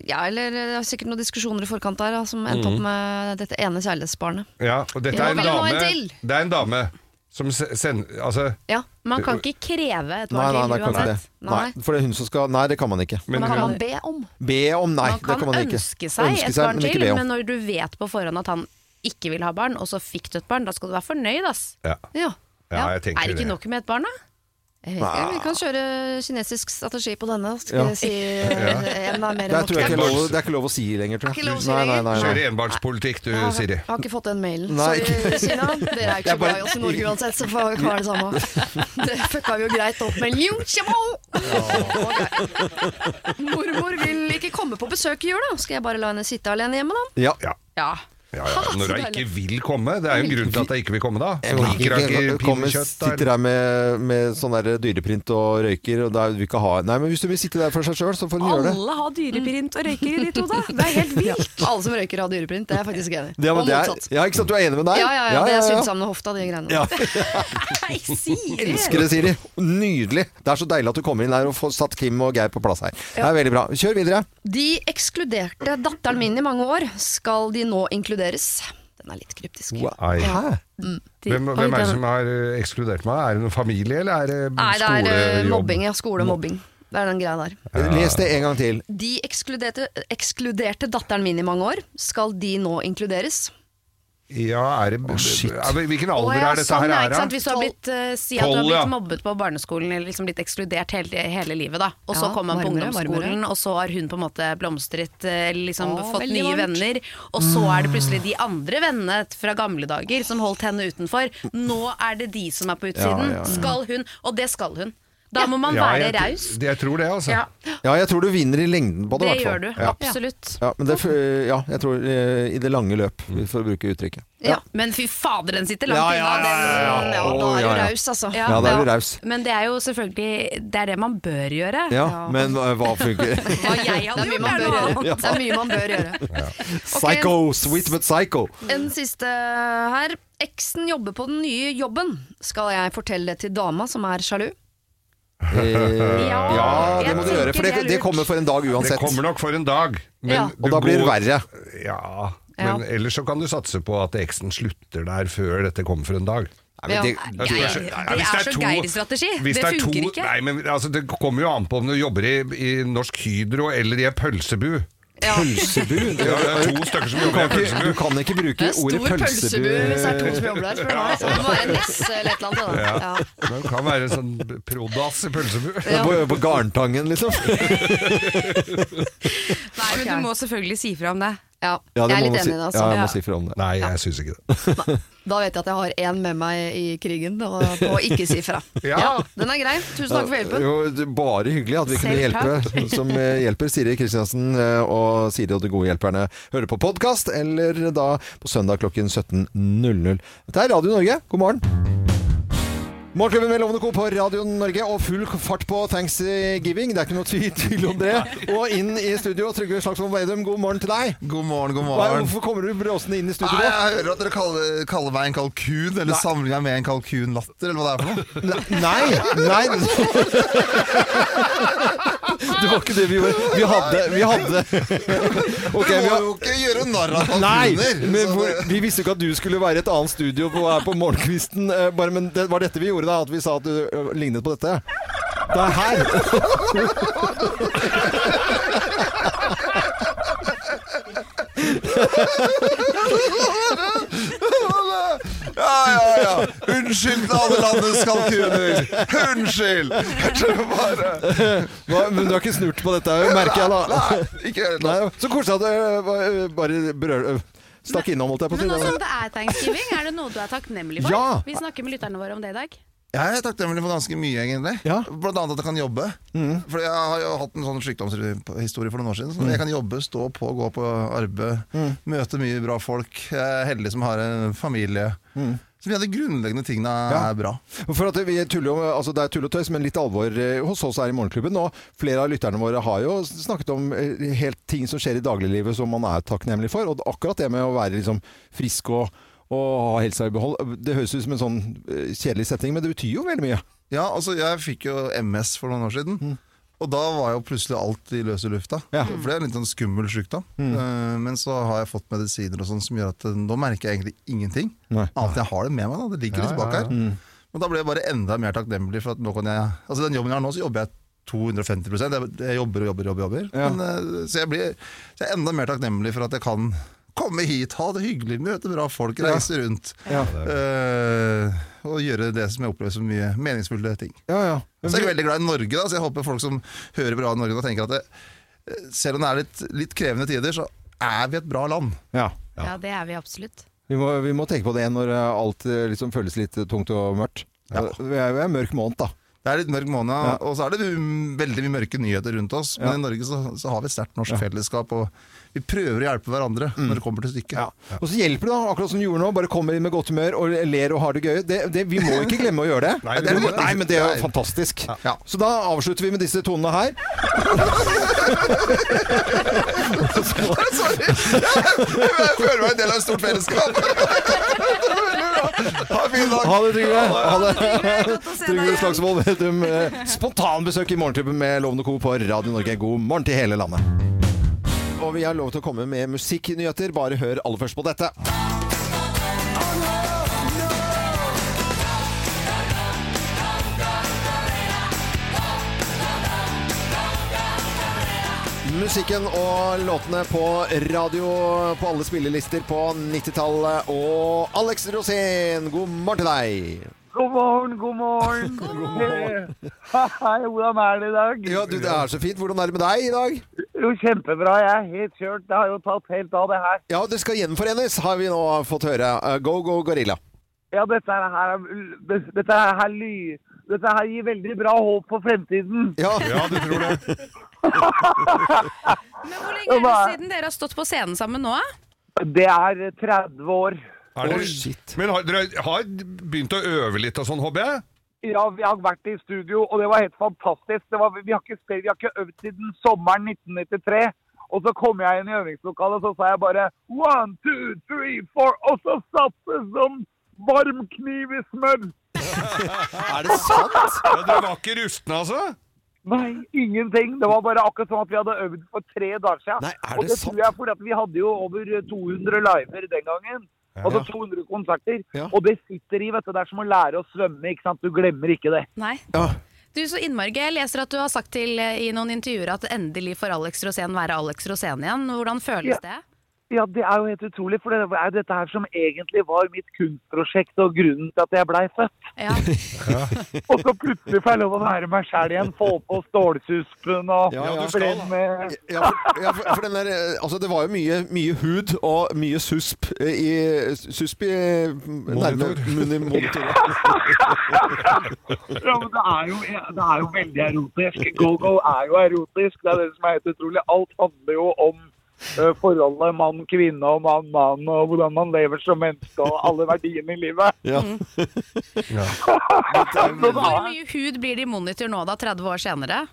Speaker 8: Ja, eller det er sikkert noen diskusjoner i forkant der da, som endte
Speaker 2: Mhm.
Speaker 8: opp med dette ene kjærlighetsbarnet.
Speaker 2: Ja, og dette
Speaker 8: Ja,
Speaker 2: er en
Speaker 8: vel, nå en
Speaker 2: dame
Speaker 8: til.
Speaker 2: Det er en dame som se- sender Altså,
Speaker 8: Ja.
Speaker 3: Man kan ikke kreve et
Speaker 1: Nei,
Speaker 3: barn
Speaker 1: nei, nei,
Speaker 3: til
Speaker 1: kan ikke det.
Speaker 3: uansett.
Speaker 1: Nei,
Speaker 8: Nei.
Speaker 1: for det er hun som skal Nei, det kan man ikke.
Speaker 2: men
Speaker 8: Men kan
Speaker 2: hun,
Speaker 8: man be om?
Speaker 1: Be om nei.
Speaker 3: Man
Speaker 1: det
Speaker 3: kan,
Speaker 1: kan man ikke.
Speaker 3: ønske seg
Speaker 1: Ønske
Speaker 3: et barn
Speaker 1: men ikke
Speaker 3: til,
Speaker 1: be om.
Speaker 3: men når du vet på forhånd at han ikke vil ha barn, og så fikk du et barn, da skal du være fornøyd, ass.
Speaker 2: ja.
Speaker 8: Ja.
Speaker 2: ja, jeg tenker
Speaker 3: Er det ikke
Speaker 2: det.
Speaker 3: nok med et barn, da?
Speaker 8: Jeg vet ikke, Eh, vi kan kjøre kinesisk strategi på denne. Skal
Speaker 1: Ja.
Speaker 8: vi si en er mer
Speaker 1: Det
Speaker 8: enn
Speaker 1: er, tror jeg ikke
Speaker 8: nok.
Speaker 1: er lov, det er ikke lov å si lenger, tror
Speaker 8: Er ikke lov å si
Speaker 1: Nei, nei,
Speaker 8: lenger?
Speaker 1: nei, nei.
Speaker 2: Kjører enbarnspolitikk, du,
Speaker 8: Jeg har-
Speaker 2: Siri.
Speaker 8: Jeg har ikke fått den mailen.
Speaker 1: Nei.
Speaker 8: Sorry, Kina. Dere
Speaker 1: Jeg
Speaker 8: er jo ikke så
Speaker 1: bare-
Speaker 8: glad i oss i Norge uansett, så får vi ha det samme. Det fucka vi jo greit opp med. Liu Xiaobo! Ok. Mormor vil ikke komme på besøk i jula. Skal jeg bare la henne sitte alene hjemme, da?
Speaker 1: Ja.
Speaker 2: Ja.
Speaker 8: Ja.
Speaker 2: Ja, ja. Når hun ikke vil komme. Det er jo en grunn til at hun ikke vil komme da.
Speaker 1: Jeg vil ikke-
Speaker 2: Liker hun ikke
Speaker 1: kommer-
Speaker 2: pinnekjøtt, da,
Speaker 1: sitter
Speaker 2: eller?
Speaker 1: der med, med sånn der dyreprint og røyker, og da vil vi ikke ha Nei, men hvis du vil sitte der for seg sjøl, så får du gjøre det.
Speaker 3: Alle har dyreprint og røyker i ditt hode! Det er helt vilt!
Speaker 8: Alle som røyker har dyreprint, det er jeg faktisk enig i.
Speaker 1: Ja, men
Speaker 8: Og
Speaker 1: det er,
Speaker 8: motsatt.
Speaker 1: ja, ikke sant, du er enig med deg?
Speaker 8: Ja, ja, ja. Det er sydd
Speaker 1: ja.
Speaker 8: sammen med hofta, de greiene.
Speaker 1: Ja.
Speaker 3: Nei,
Speaker 1: Elsker
Speaker 3: Siri!
Speaker 1: det, Siri. Nydelig. Det er så deilig at du kommer inn her og får satt Kim og Geir på plass her. Det er veldig bra. Kjør videre.
Speaker 8: De ekskluderte datteren min i mange år. Skal de nå inkluderes? Mm. Den er litt kryptisk.
Speaker 2: Ai.
Speaker 1: Hæ?
Speaker 2: Hvem, hvem er det som har eh, ekskludert meg? Er det noen familie, eller er det
Speaker 8: Nei, det er eh,
Speaker 2: skolejobb?
Speaker 8: mobbing, ja. Skolemobbing. Det er den greia der.
Speaker 1: Les det en gang til.
Speaker 8: De ekskluderte, ekskluderte datteren min i mange år. Skal de nå inkluderes?
Speaker 2: Ja, er det
Speaker 1: shit.
Speaker 2: Ja, men Hvilken
Speaker 3: Å
Speaker 2: alder
Speaker 3: ja,
Speaker 2: er dette
Speaker 3: sånn,
Speaker 2: her?
Speaker 3: ja,
Speaker 2: er,
Speaker 3: ikke sant?
Speaker 2: da?
Speaker 3: Hvis du har blitt, eh, si at du har
Speaker 2: Tolv, ja.
Speaker 3: blitt mobbet på barneskolen, eller liksom blitt ekskludert hele, hele livet, da. Og så
Speaker 8: Ja,
Speaker 3: kommer han på
Speaker 8: varmere,
Speaker 3: ungdomsskolen, og så har hun på en måte blomstret, eh, liksom
Speaker 8: Å,
Speaker 3: fått
Speaker 8: veldig
Speaker 3: nye
Speaker 8: varmt.
Speaker 3: venner. Og så er det plutselig de andre vennene fra gamle dager som holdt henne utenfor. Nå er det de som er på utsiden.
Speaker 1: ja, ja.
Speaker 3: Skal hun, og det skal hun. Da må man
Speaker 2: Ja,
Speaker 3: være
Speaker 2: jeg tr-
Speaker 3: raus.
Speaker 2: Jeg tror det, altså.
Speaker 3: Ja,
Speaker 1: Ja, jeg tror du vinner i lengden på det,
Speaker 3: det
Speaker 1: i hvert fall.
Speaker 3: gjør du.
Speaker 1: Ja.
Speaker 3: Absolutt.
Speaker 1: Ja, men det, f- ja, jeg tror eh, i det lange løp,
Speaker 2: Mm.
Speaker 1: for å bruke uttrykket.
Speaker 8: Ja.
Speaker 3: Men fy fader, den sitter langt
Speaker 1: Ja,
Speaker 3: inne.
Speaker 1: ja,
Speaker 3: den-
Speaker 1: ja, ja.
Speaker 8: Ja, da
Speaker 1: Å,
Speaker 8: er du
Speaker 1: ja, ja.
Speaker 8: raus, altså.
Speaker 3: Ja.
Speaker 1: Ja, da er du raus.
Speaker 3: Men det er jo selvfølgelig Det er det man bør gjøre.
Speaker 1: Ja, men hva hva funker?
Speaker 3: Hva jeg
Speaker 8: Det
Speaker 3: hadde
Speaker 8: er mye
Speaker 3: gjort,
Speaker 8: man
Speaker 3: er
Speaker 8: bør
Speaker 3: noe annet.
Speaker 8: gjøre. Det er mye man bør gjøre.
Speaker 1: Psycho, sweet but psycho.
Speaker 8: En siste her. Eksen jobber på den nye jobben. Skal jeg fortelle det til dama som er sjalu?
Speaker 1: Eh,
Speaker 3: Ja,
Speaker 1: ja, det
Speaker 3: jeg
Speaker 1: må du gjøre,
Speaker 3: tenker
Speaker 1: for det,
Speaker 3: er
Speaker 1: det
Speaker 3: lurt.
Speaker 1: kommer for en dag
Speaker 2: Det
Speaker 1: uansett.
Speaker 2: kommer nok for en dag. men
Speaker 8: Ja.
Speaker 2: du
Speaker 1: Og da blir det
Speaker 2: går-
Speaker 1: verre.
Speaker 2: Ja, men ellers så kan du satse på at eksen slutter der før dette kommer for en dag.
Speaker 1: Nei, men det-
Speaker 2: Jeg tror
Speaker 3: Geir, det
Speaker 2: kanskje- Nei, hvis
Speaker 3: er
Speaker 2: er
Speaker 3: så
Speaker 2: to-
Speaker 3: Geir-strategi.
Speaker 2: hvis
Speaker 3: Det
Speaker 2: er to-
Speaker 3: funker ikke.
Speaker 2: Nei, men altså, Det kommer jo an på om du jobber i, i Norsk Hydro eller i en pølsebu.
Speaker 1: Pølsebu? Det-
Speaker 2: Ja, det er to stykker som
Speaker 1: Du
Speaker 2: jobber i
Speaker 1: kan
Speaker 2: en
Speaker 1: ikke, du
Speaker 2: pølsebu.
Speaker 1: kan ikke bruke
Speaker 8: Det er stor
Speaker 1: ordet
Speaker 8: pølsebu hvis det er to
Speaker 1: pølsebu.
Speaker 8: som jobber der. spør du meg. Så Det må være en nisse eller et eller annet. da. Ja.
Speaker 2: Det kan være en sånn prodass i pølsebu.
Speaker 1: På, på Garntangen, liksom.
Speaker 3: Nei, men
Speaker 8: Ok.
Speaker 3: du må selvfølgelig si fra om det.
Speaker 8: Ja,
Speaker 1: Ja, det
Speaker 8: jeg er
Speaker 1: må
Speaker 8: litt
Speaker 1: man si-
Speaker 8: enig i det. Altså.
Speaker 1: Ja, jeg må si fra om det.
Speaker 2: Nei, jeg syns ikke det.
Speaker 8: Da vet jeg at jeg har én med meg i krigen, og på å ikke si fra.
Speaker 2: Ja.
Speaker 8: den er grei. Tusen takk for hjelpen.
Speaker 1: Jo, det er bare hyggelig at vi kunne
Speaker 8: Selv
Speaker 1: hjelpe. Som eh, hjelper Siri Kristiansen eh, og Siri og de gode hjelperne hører på podkast, eller da på søndag klokken 17.00. Dette er Radio Norge, god morgen. Morgenklubben med Lovende Co på Radio Norge, og full fart på thanksgiving. Det er ikke noe tvil, tvil om det. Og inn i studio, Trygve Slagsvold Vedum, god morgen til deg.
Speaker 9: God morgen, god
Speaker 1: Hva,
Speaker 9: morgen.
Speaker 1: hvorfor kommer du bråsende inn i studio?
Speaker 9: Nei,
Speaker 1: nå?
Speaker 9: jeg hører at dere kaller, kaller meg en kalkun, eller samler meg med en kalkunlatter, eller hva det er for noe.
Speaker 1: Nei, nei Det var ikke det vi gjorde. Vi hadde, vi hadde. Ok,
Speaker 9: Dere må
Speaker 1: vi har,
Speaker 9: jo ikke gjøre narr av
Speaker 1: Nei,
Speaker 9: kalkuner!
Speaker 1: men
Speaker 9: så
Speaker 1: hvor,
Speaker 9: det-
Speaker 1: vi visste jo ikke at du skulle være i et annet studio på, her på morgenkvisten. eh, Bare, men det var dette vi gjorde, da. At vi sa at du ø, lignet på dette. Det er her.
Speaker 9: Ja, ja, ja. Unnskyld til alle landets kalkuner! Unnskyld! Kanskje bare
Speaker 1: Hva, men du har ikke snurt på dette, merker jeg da.
Speaker 9: Nei, ikke gjør det.
Speaker 1: Nei, så koselig at du ø, ø, bare brøl, ø, stakk innom, holdt jeg på
Speaker 3: Men altså,
Speaker 1: å
Speaker 3: også
Speaker 1: si.
Speaker 3: om det er thanksgiving, er det noe du er takknemlig for?
Speaker 1: Ja.
Speaker 3: Vi snakker med lytterne våre om det i dag.
Speaker 9: Jeg er takknemlig for ganske mye, egentlig.
Speaker 1: Ja. Mm.
Speaker 9: Blant annet at jeg kan jobbe. For jeg har jo hatt en sånn sykdomshistorie for noen år siden. Så jeg kan jobbe, stå på, gå på arbeid,
Speaker 1: Mm.
Speaker 9: møte mye bra folk. Jeg er heldig som har en familie.
Speaker 1: Mm.
Speaker 9: Så mye av de grunnleggende tingene
Speaker 1: Ja.
Speaker 9: er bra.
Speaker 1: For at vi tuller jo, altså det er tull og tøys, men litt alvor eh, hos oss her i Morgenklubben. Og flere av lytterne våre har jo snakket om eh, helt ting som skjer i dagliglivet som man er takknemlig for. Og akkurat det med å være liksom frisk og, og ha helsa i behold, det høres ut som en sånn eh, kjedelig setning, men det betyr jo veldig mye.
Speaker 9: Ja, altså jeg fikk jo MS for noen år siden. Og da var jo plutselig alt i løse lufta.
Speaker 1: Ja. Mm.
Speaker 9: For det er en litt sånn skummel sykdom. Eh, Men så har jeg fått medisiner og sånn som gjør at eh, nå merker jeg egentlig ingenting.
Speaker 1: Nei.
Speaker 9: Annet enn jeg har det med meg. da, Det ligger litt bak her. Men da ble jeg bare enda mer takknemlig for at nå kan jeg Altså den jobben jeg har nå, så jobber jeg 250 Jeg, jeg jobber og jobber og jobber. jobber.
Speaker 1: Ja.
Speaker 9: Men, eh, så, jeg blir, så jeg er enda mer takknemlig for at jeg kan komme hit, ha det hyggelig, møte bra folk, reise rundt.
Speaker 1: Ja.
Speaker 9: eh, og gjøre det som jeg opplever som mye meningsfulle ting.
Speaker 1: Ja, ja.
Speaker 9: Så er jeg veldig glad i Norge, da, så jeg håper folk som hører på Radio Norge, da tenker at det, eh, selv om det er litt, litt krevende tider, så er vi et bra land.
Speaker 1: Ja.
Speaker 3: Ja, det er vi absolutt.
Speaker 1: Vi, må, vi må tenke på det når eh, alt eh, liksom føles litt eh, tungt og mørkt.
Speaker 9: Ja.
Speaker 1: Det er jo en mørk måned, da.
Speaker 9: Det er litt mørk måned,
Speaker 1: Ja.
Speaker 9: og så er det mm, veldig mye mørke nyheter rundt oss. Men i Norge så, så har vi et sterkt norsk fellesskap, og vi prøver å hjelpe hverandre når det kommer til stykket.
Speaker 1: Mm. Og så hjelper det, da, akkurat som du gjorde nå. Bare kommer inn med godt humør og ler og har det gøy. Det, det, vi må ikke glemme å gjøre det.
Speaker 2: Nei, vi
Speaker 1: det er,
Speaker 2: må
Speaker 1: nei men det er jo fantastisk.
Speaker 9: Ja.
Speaker 1: Så da avslutter vi med disse tonene her.
Speaker 9: Sorry! Jeg føler meg en del av et stort fellesskap. Ha en fin dag!
Speaker 1: Ha det, Trygve. Ha det.
Speaker 3: Godt å se
Speaker 1: Trygve
Speaker 3: deg igjen.
Speaker 1: Slagsvold Vedum. eh, Spontanbesøk i Morgenklubben med Lovende Co. på Radio Norge. God morgen til hele landet. Og vi har lov til å komme med musikknyheter. Bare hør aller først på dette. Musikken og låtene på radio på alle spillelister på 90-tallet. Og Alex Rosén, god morgen til deg.
Speaker 10: God morgen, god morgen. Hei, hvordan er det i dag?
Speaker 1: Ja, du, Det er så fint. Hvordan er det med deg i dag?
Speaker 10: Jo, kjempebra. Jeg er helt kjørt. Det har jo tatt helt av, det her.
Speaker 1: Ja, det skal gjenforenes, har vi nå fått høre. Uh, Go, go, gorilla.
Speaker 10: Ja, dette her, er, dette her, ly, dette her gir veldig bra håp for fremtiden.
Speaker 1: Ja,
Speaker 2: Ja, du tror det.
Speaker 3: Men hvor lenge er det siden dere har stått på scenen sammen nå? da?
Speaker 10: Det er 30 år.
Speaker 2: Er det-
Speaker 1: Oi, shit.
Speaker 2: Men har dere har begynt å øve litt og sånn, håper jeg?
Speaker 10: Ja, vi har vært i studio, og det var helt fantastisk. Det var, vi, har ikke, spilt- vi har ikke øvd siden sommeren 1993. Og så kom jeg inn i øvingslokalet, og så sa jeg bare one, two, three, four, og så satt det som varm kniv i smør.
Speaker 1: Er det sant?
Speaker 2: Ja, dere var ikke rustne, altså?
Speaker 10: Nei, ingenting. Det var bare akkurat som at vi hadde øvd for tre dager siden.
Speaker 1: Nei, er
Speaker 10: og
Speaker 1: det
Speaker 10: det
Speaker 1: sant?
Speaker 10: tror jeg fordi at vi hadde jo over 200 liver den gangen. Altså 200 konserter.
Speaker 1: Ja.
Speaker 10: Og det sitter i, vet du. Det er som å lære å svømme, ikke sant. Du glemmer ikke det.
Speaker 3: Nei.
Speaker 1: Ja.
Speaker 3: Du, så innmari gøy. Jeg leser at du har sagt til eh, i noen intervjuer at endelig får Alex Rosén være Alex Rosén igjen. Hvordan føles det?
Speaker 10: si at det er jo helt utrolig, for det er jo dette her som egentlig var mitt kunstprosjekt og grunnen til at jeg blei født. og så plutselig får jeg lov å være meg sjæl igjen, få på stålsuspen og
Speaker 1: Ja, ja.
Speaker 10: bli med
Speaker 1: Ja, for, ja, for, for den der, eh, altså det var jo mye, mye hud og mye susp eh, i, susp i nærme moni- monitorer.
Speaker 10: Ja, men det er, jo, det er jo veldig erotisk. Go-go er jo erotisk. Det er det som er helt utrolig. Alt handler jo om eh, forholdet mann-kvinne og mann-mann, og hvordan man lever som menneske, og alle verdiene i livet.
Speaker 1: Ja.
Speaker 10: Så da
Speaker 3: Hvor mye hud blir det i monitor nå, da, 30 år senere?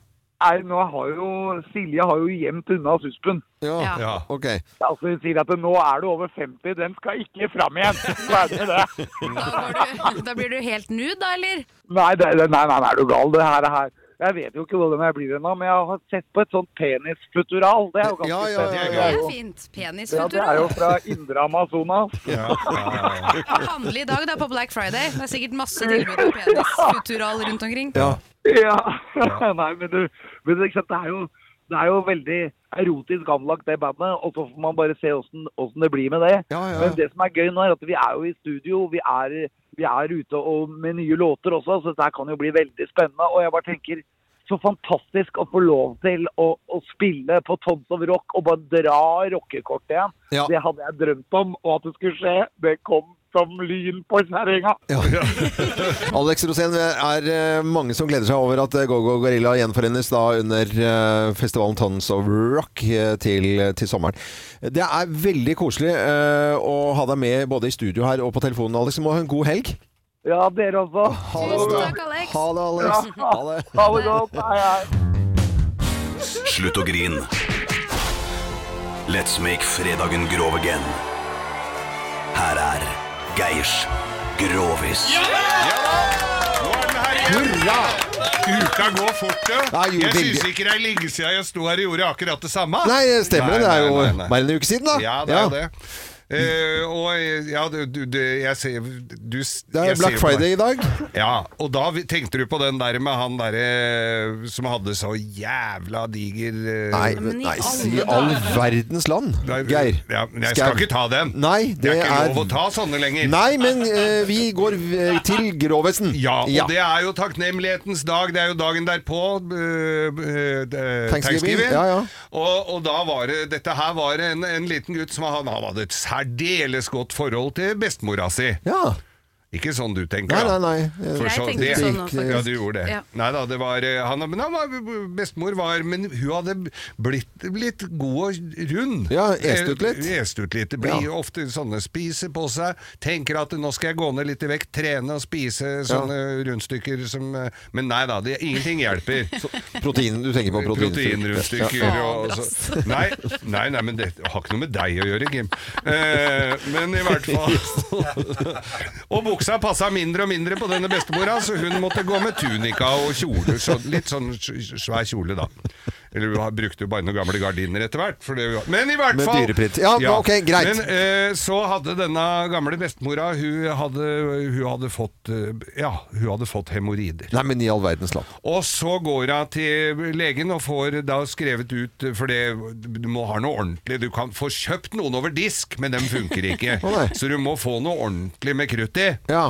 Speaker 10: er, nå har jo, Silje har jo gjemt unna suspen.
Speaker 1: Ja,
Speaker 3: Ja.
Speaker 1: ok.
Speaker 10: Altså, hun sier at nå er du over 50, den skal ikke fram igjen. Ferdig med det.
Speaker 3: Da, går du, da blir du helt nude, da, eller?
Speaker 10: Nei, det, det- nei, nei, nei, er du gal, det her er her. Jeg vet jo ikke hvordan jeg blir ennå, men jeg har sett på et sånt penisfutural. Det er jo ganske
Speaker 1: Ja, ja, ja,
Speaker 10: spennende.
Speaker 1: ja.
Speaker 3: Det er fint. Penis
Speaker 10: Ja, det er jo fra indre Amazonas.
Speaker 3: Handle i dag, da, på Black Friday. Det er sikkert masse tilbud om penisfutural rundt omkring.
Speaker 1: Ja.
Speaker 10: Ja, nei, men du, men det, ikke sant, det, er jo, det er jo veldig erotisk anlagt det bandet, og så får man bare se hvordan, hvordan det blir med det.
Speaker 1: Ja, ja.
Speaker 10: Men det som er gøy nå er at vi er jo i studio, vi er, vi er ute og, med nye låter også, så dette her kan jo bli veldig spennende. Og jeg bare tenker, så fantastisk å få lov til å, å spille på Tons of Rock og bare dra rockekortet igjen.
Speaker 1: Ja.
Speaker 10: Det hadde jeg drømt om, og at det skulle skje, det kom som lyn på kjerringa.
Speaker 1: Alex Rosén, det er eh, mange som gleder seg over at eh, Go-Go Gorilla gjenforenes da under eh, festivalen Tons of Rock eh, til, til sommeren. Det er veldig koselig eh, å ha deg med både i studio her og på telefonen, Alex. Må ha en god helg.
Speaker 10: Ja, dere også.
Speaker 1: Ha det,
Speaker 3: Tusen
Speaker 1: bra.
Speaker 3: takk, Alex.
Speaker 1: Ha det, Alex. Ha det.
Speaker 10: Ha det godt. Hei, hei.
Speaker 11: Slutt å grin. Let's make fredagen grov again. Her er Geirs Grovis.
Speaker 1: Hurra!
Speaker 2: Uka går fort,
Speaker 1: Det er
Speaker 2: du.
Speaker 1: jo
Speaker 2: Jeg syns
Speaker 1: veldig-
Speaker 2: ikke det er lenge siden jeg sto her og gjorde akkurat det samme.
Speaker 1: Nei, det stemmer.
Speaker 2: Nei,
Speaker 1: Det er jo
Speaker 2: nei, nei, nei.
Speaker 1: bare en uke siden, da.
Speaker 2: Ja, det er jo det. Eh, og eh, ja, du, du, du jeg ser du,
Speaker 1: Det er Black Friday i dag.
Speaker 2: Ja, og da vi- tenkte du på den der med han derre som hadde så jævla diger eh,
Speaker 1: Nei,
Speaker 3: men i
Speaker 1: nei
Speaker 3: alle
Speaker 1: si all verdens land,
Speaker 2: Nei,
Speaker 1: Geir.
Speaker 2: Ja, men jeg
Speaker 1: Skau.
Speaker 2: skal ikke ta dem.
Speaker 1: Nei,
Speaker 2: det
Speaker 1: det
Speaker 2: er ikke
Speaker 1: er-
Speaker 2: lov å ta sånne lenger.
Speaker 1: Nei, men eh, vi går eh, til Grovesen.
Speaker 2: Ja, og det er jo takknemlighetens dag. Det er jo dagen derpå. øh, øh, øh, Thanksgiving.
Speaker 1: Ja, ja.
Speaker 2: Og, og da var det Dette her var en, en liten gutt som han, han hadde et særdeles godt forhold til bestemora si.
Speaker 1: Ja.
Speaker 2: Ikke sånn du tenker,
Speaker 1: Nei,
Speaker 2: da.
Speaker 1: nei, nei.
Speaker 2: For
Speaker 3: Jeg
Speaker 2: så-
Speaker 3: tenkte
Speaker 2: det-
Speaker 3: sånn nå, faktisk.
Speaker 2: Ja, du gjorde det.
Speaker 3: Ja.
Speaker 2: Nei da, det var eh, han, Men han var, bestemor var Men hun hadde blitt, blitt god og rund.
Speaker 1: Ja, est ut litt.
Speaker 2: Eh, Est ut litt. Det blir
Speaker 1: Ja.
Speaker 2: jo ofte sånne spiser på seg. Tenker at nå skal jeg gå ned litt i vekt, trene og spise sånne rundstykker som eh, Men nei da, det, ingenting hjelper.
Speaker 1: Protein, du tenker på protein.
Speaker 2: Proteinrundstykker og og så. Nei, nei, nei, men det har ikke noe med deg å gjøre, Kim. Eh, men i hvert fall Og buksa passa mindre og mindre på denne bestemora, så hun måtte gå med tunika og kjole. Så litt sånn s- svær kjole, da. Eller hun brukte jo bare noen gamle gardiner etter hvert. For det, men i hvert
Speaker 1: Med
Speaker 2: fall
Speaker 1: dyreprint. Ja, ok, greit.
Speaker 2: Men eh, så hadde denne gamle bestemora Hun hadde, hun hadde fått eh, Ja, hun hadde fått hemoroider.
Speaker 1: Nei, men i all verdens land.
Speaker 2: Og så går hun til legen og får da skrevet ut For det, du må ha noe ordentlig. Du kan få kjøpt noen over disk, men dem funker ikke.
Speaker 1: Å, nei.
Speaker 2: så du må få noe ordentlig med krutt i.
Speaker 1: Ja.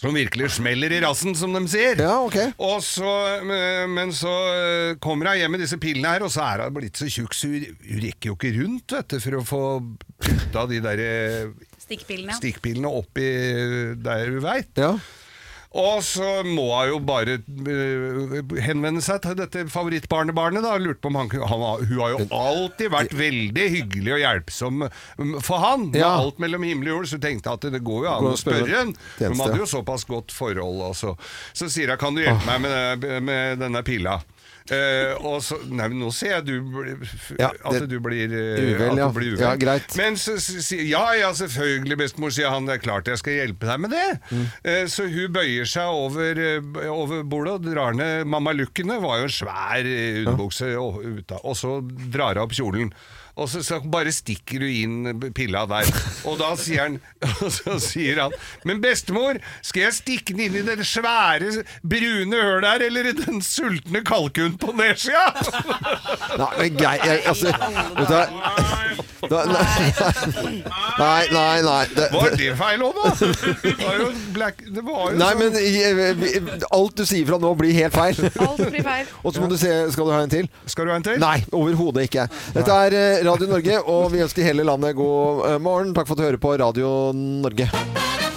Speaker 2: Som virkelig smeller i rassen, som de sier.
Speaker 1: Ja, ok.
Speaker 2: Og så, eh, men så eh, kommer hun hjem med disse pillene her, og så er hun blitt så tjukk, så hun hun rekker jo ikke rundt vet du, for å få putta de der eh,
Speaker 3: Stikkpillene.
Speaker 2: stikkpillene opp i der hun veit.
Speaker 1: ja.
Speaker 2: Og så må hun jo bare øh, henvende seg til dette favorittbarnebarnet. da, Lurte på om han, kunne- han var- Hun har jo alltid vært veldig hyggelig og hjelpsom mm, for han. Med
Speaker 1: Ja.
Speaker 2: alt mellom himmel og jord, så tenkte jeg at det går jo an
Speaker 1: Går
Speaker 2: å spørre henne.
Speaker 1: Tjeneste,
Speaker 2: Hun
Speaker 1: ja.
Speaker 2: hadde jo såpass godt forhold. Også. Så sier hun 'kan du
Speaker 1: Ah.
Speaker 2: hjelpe meg med, det- med denne pila'? Eh, og så, nei, men nå ser jeg du, blir- f-
Speaker 1: Ja,
Speaker 2: at
Speaker 1: det-
Speaker 2: du blir eh,
Speaker 1: Uvel,
Speaker 2: at
Speaker 1: ja.
Speaker 2: du blir uvel.
Speaker 1: Ja, greit.
Speaker 2: Men så s- sier Ja, ja, selvfølgelig, bestemor, sier han. Det er klart jeg skal hjelpe deg med det.
Speaker 1: Mm.
Speaker 2: Eh, Så hun bøyer seg over, eh, b- over bordet og drar ned Mamma Lukkene var jo en svær eh, underbukse og, ut av- og så drar hun opp kjolen. Og så, så bare stikker du inn pilla der. Og da sier han Og så sier han Men bestemor, skal jeg stikke den inn i det svære, brune hølet her, eller i den sultne kalkunen på nedsida?
Speaker 1: Nei, men grei, jeg, altså, vet du hva? Da- Nei, nei, nei. nei. Det-
Speaker 2: Var det feil òg, da? Det var jo black Det var jo
Speaker 1: Nei,
Speaker 2: sånn.
Speaker 1: men jeg- jeg- alt du sier fra nå blir helt feil.
Speaker 2: Alt blir feil.
Speaker 1: Og så må du se, skal du ha en til?
Speaker 2: Skal du ha en til?
Speaker 1: Nei, overhodet ikke. Dette er eh, Radio Norge, og vi ønsker hele landet god eh, morgen. Takk for at du hører på Radio Norge.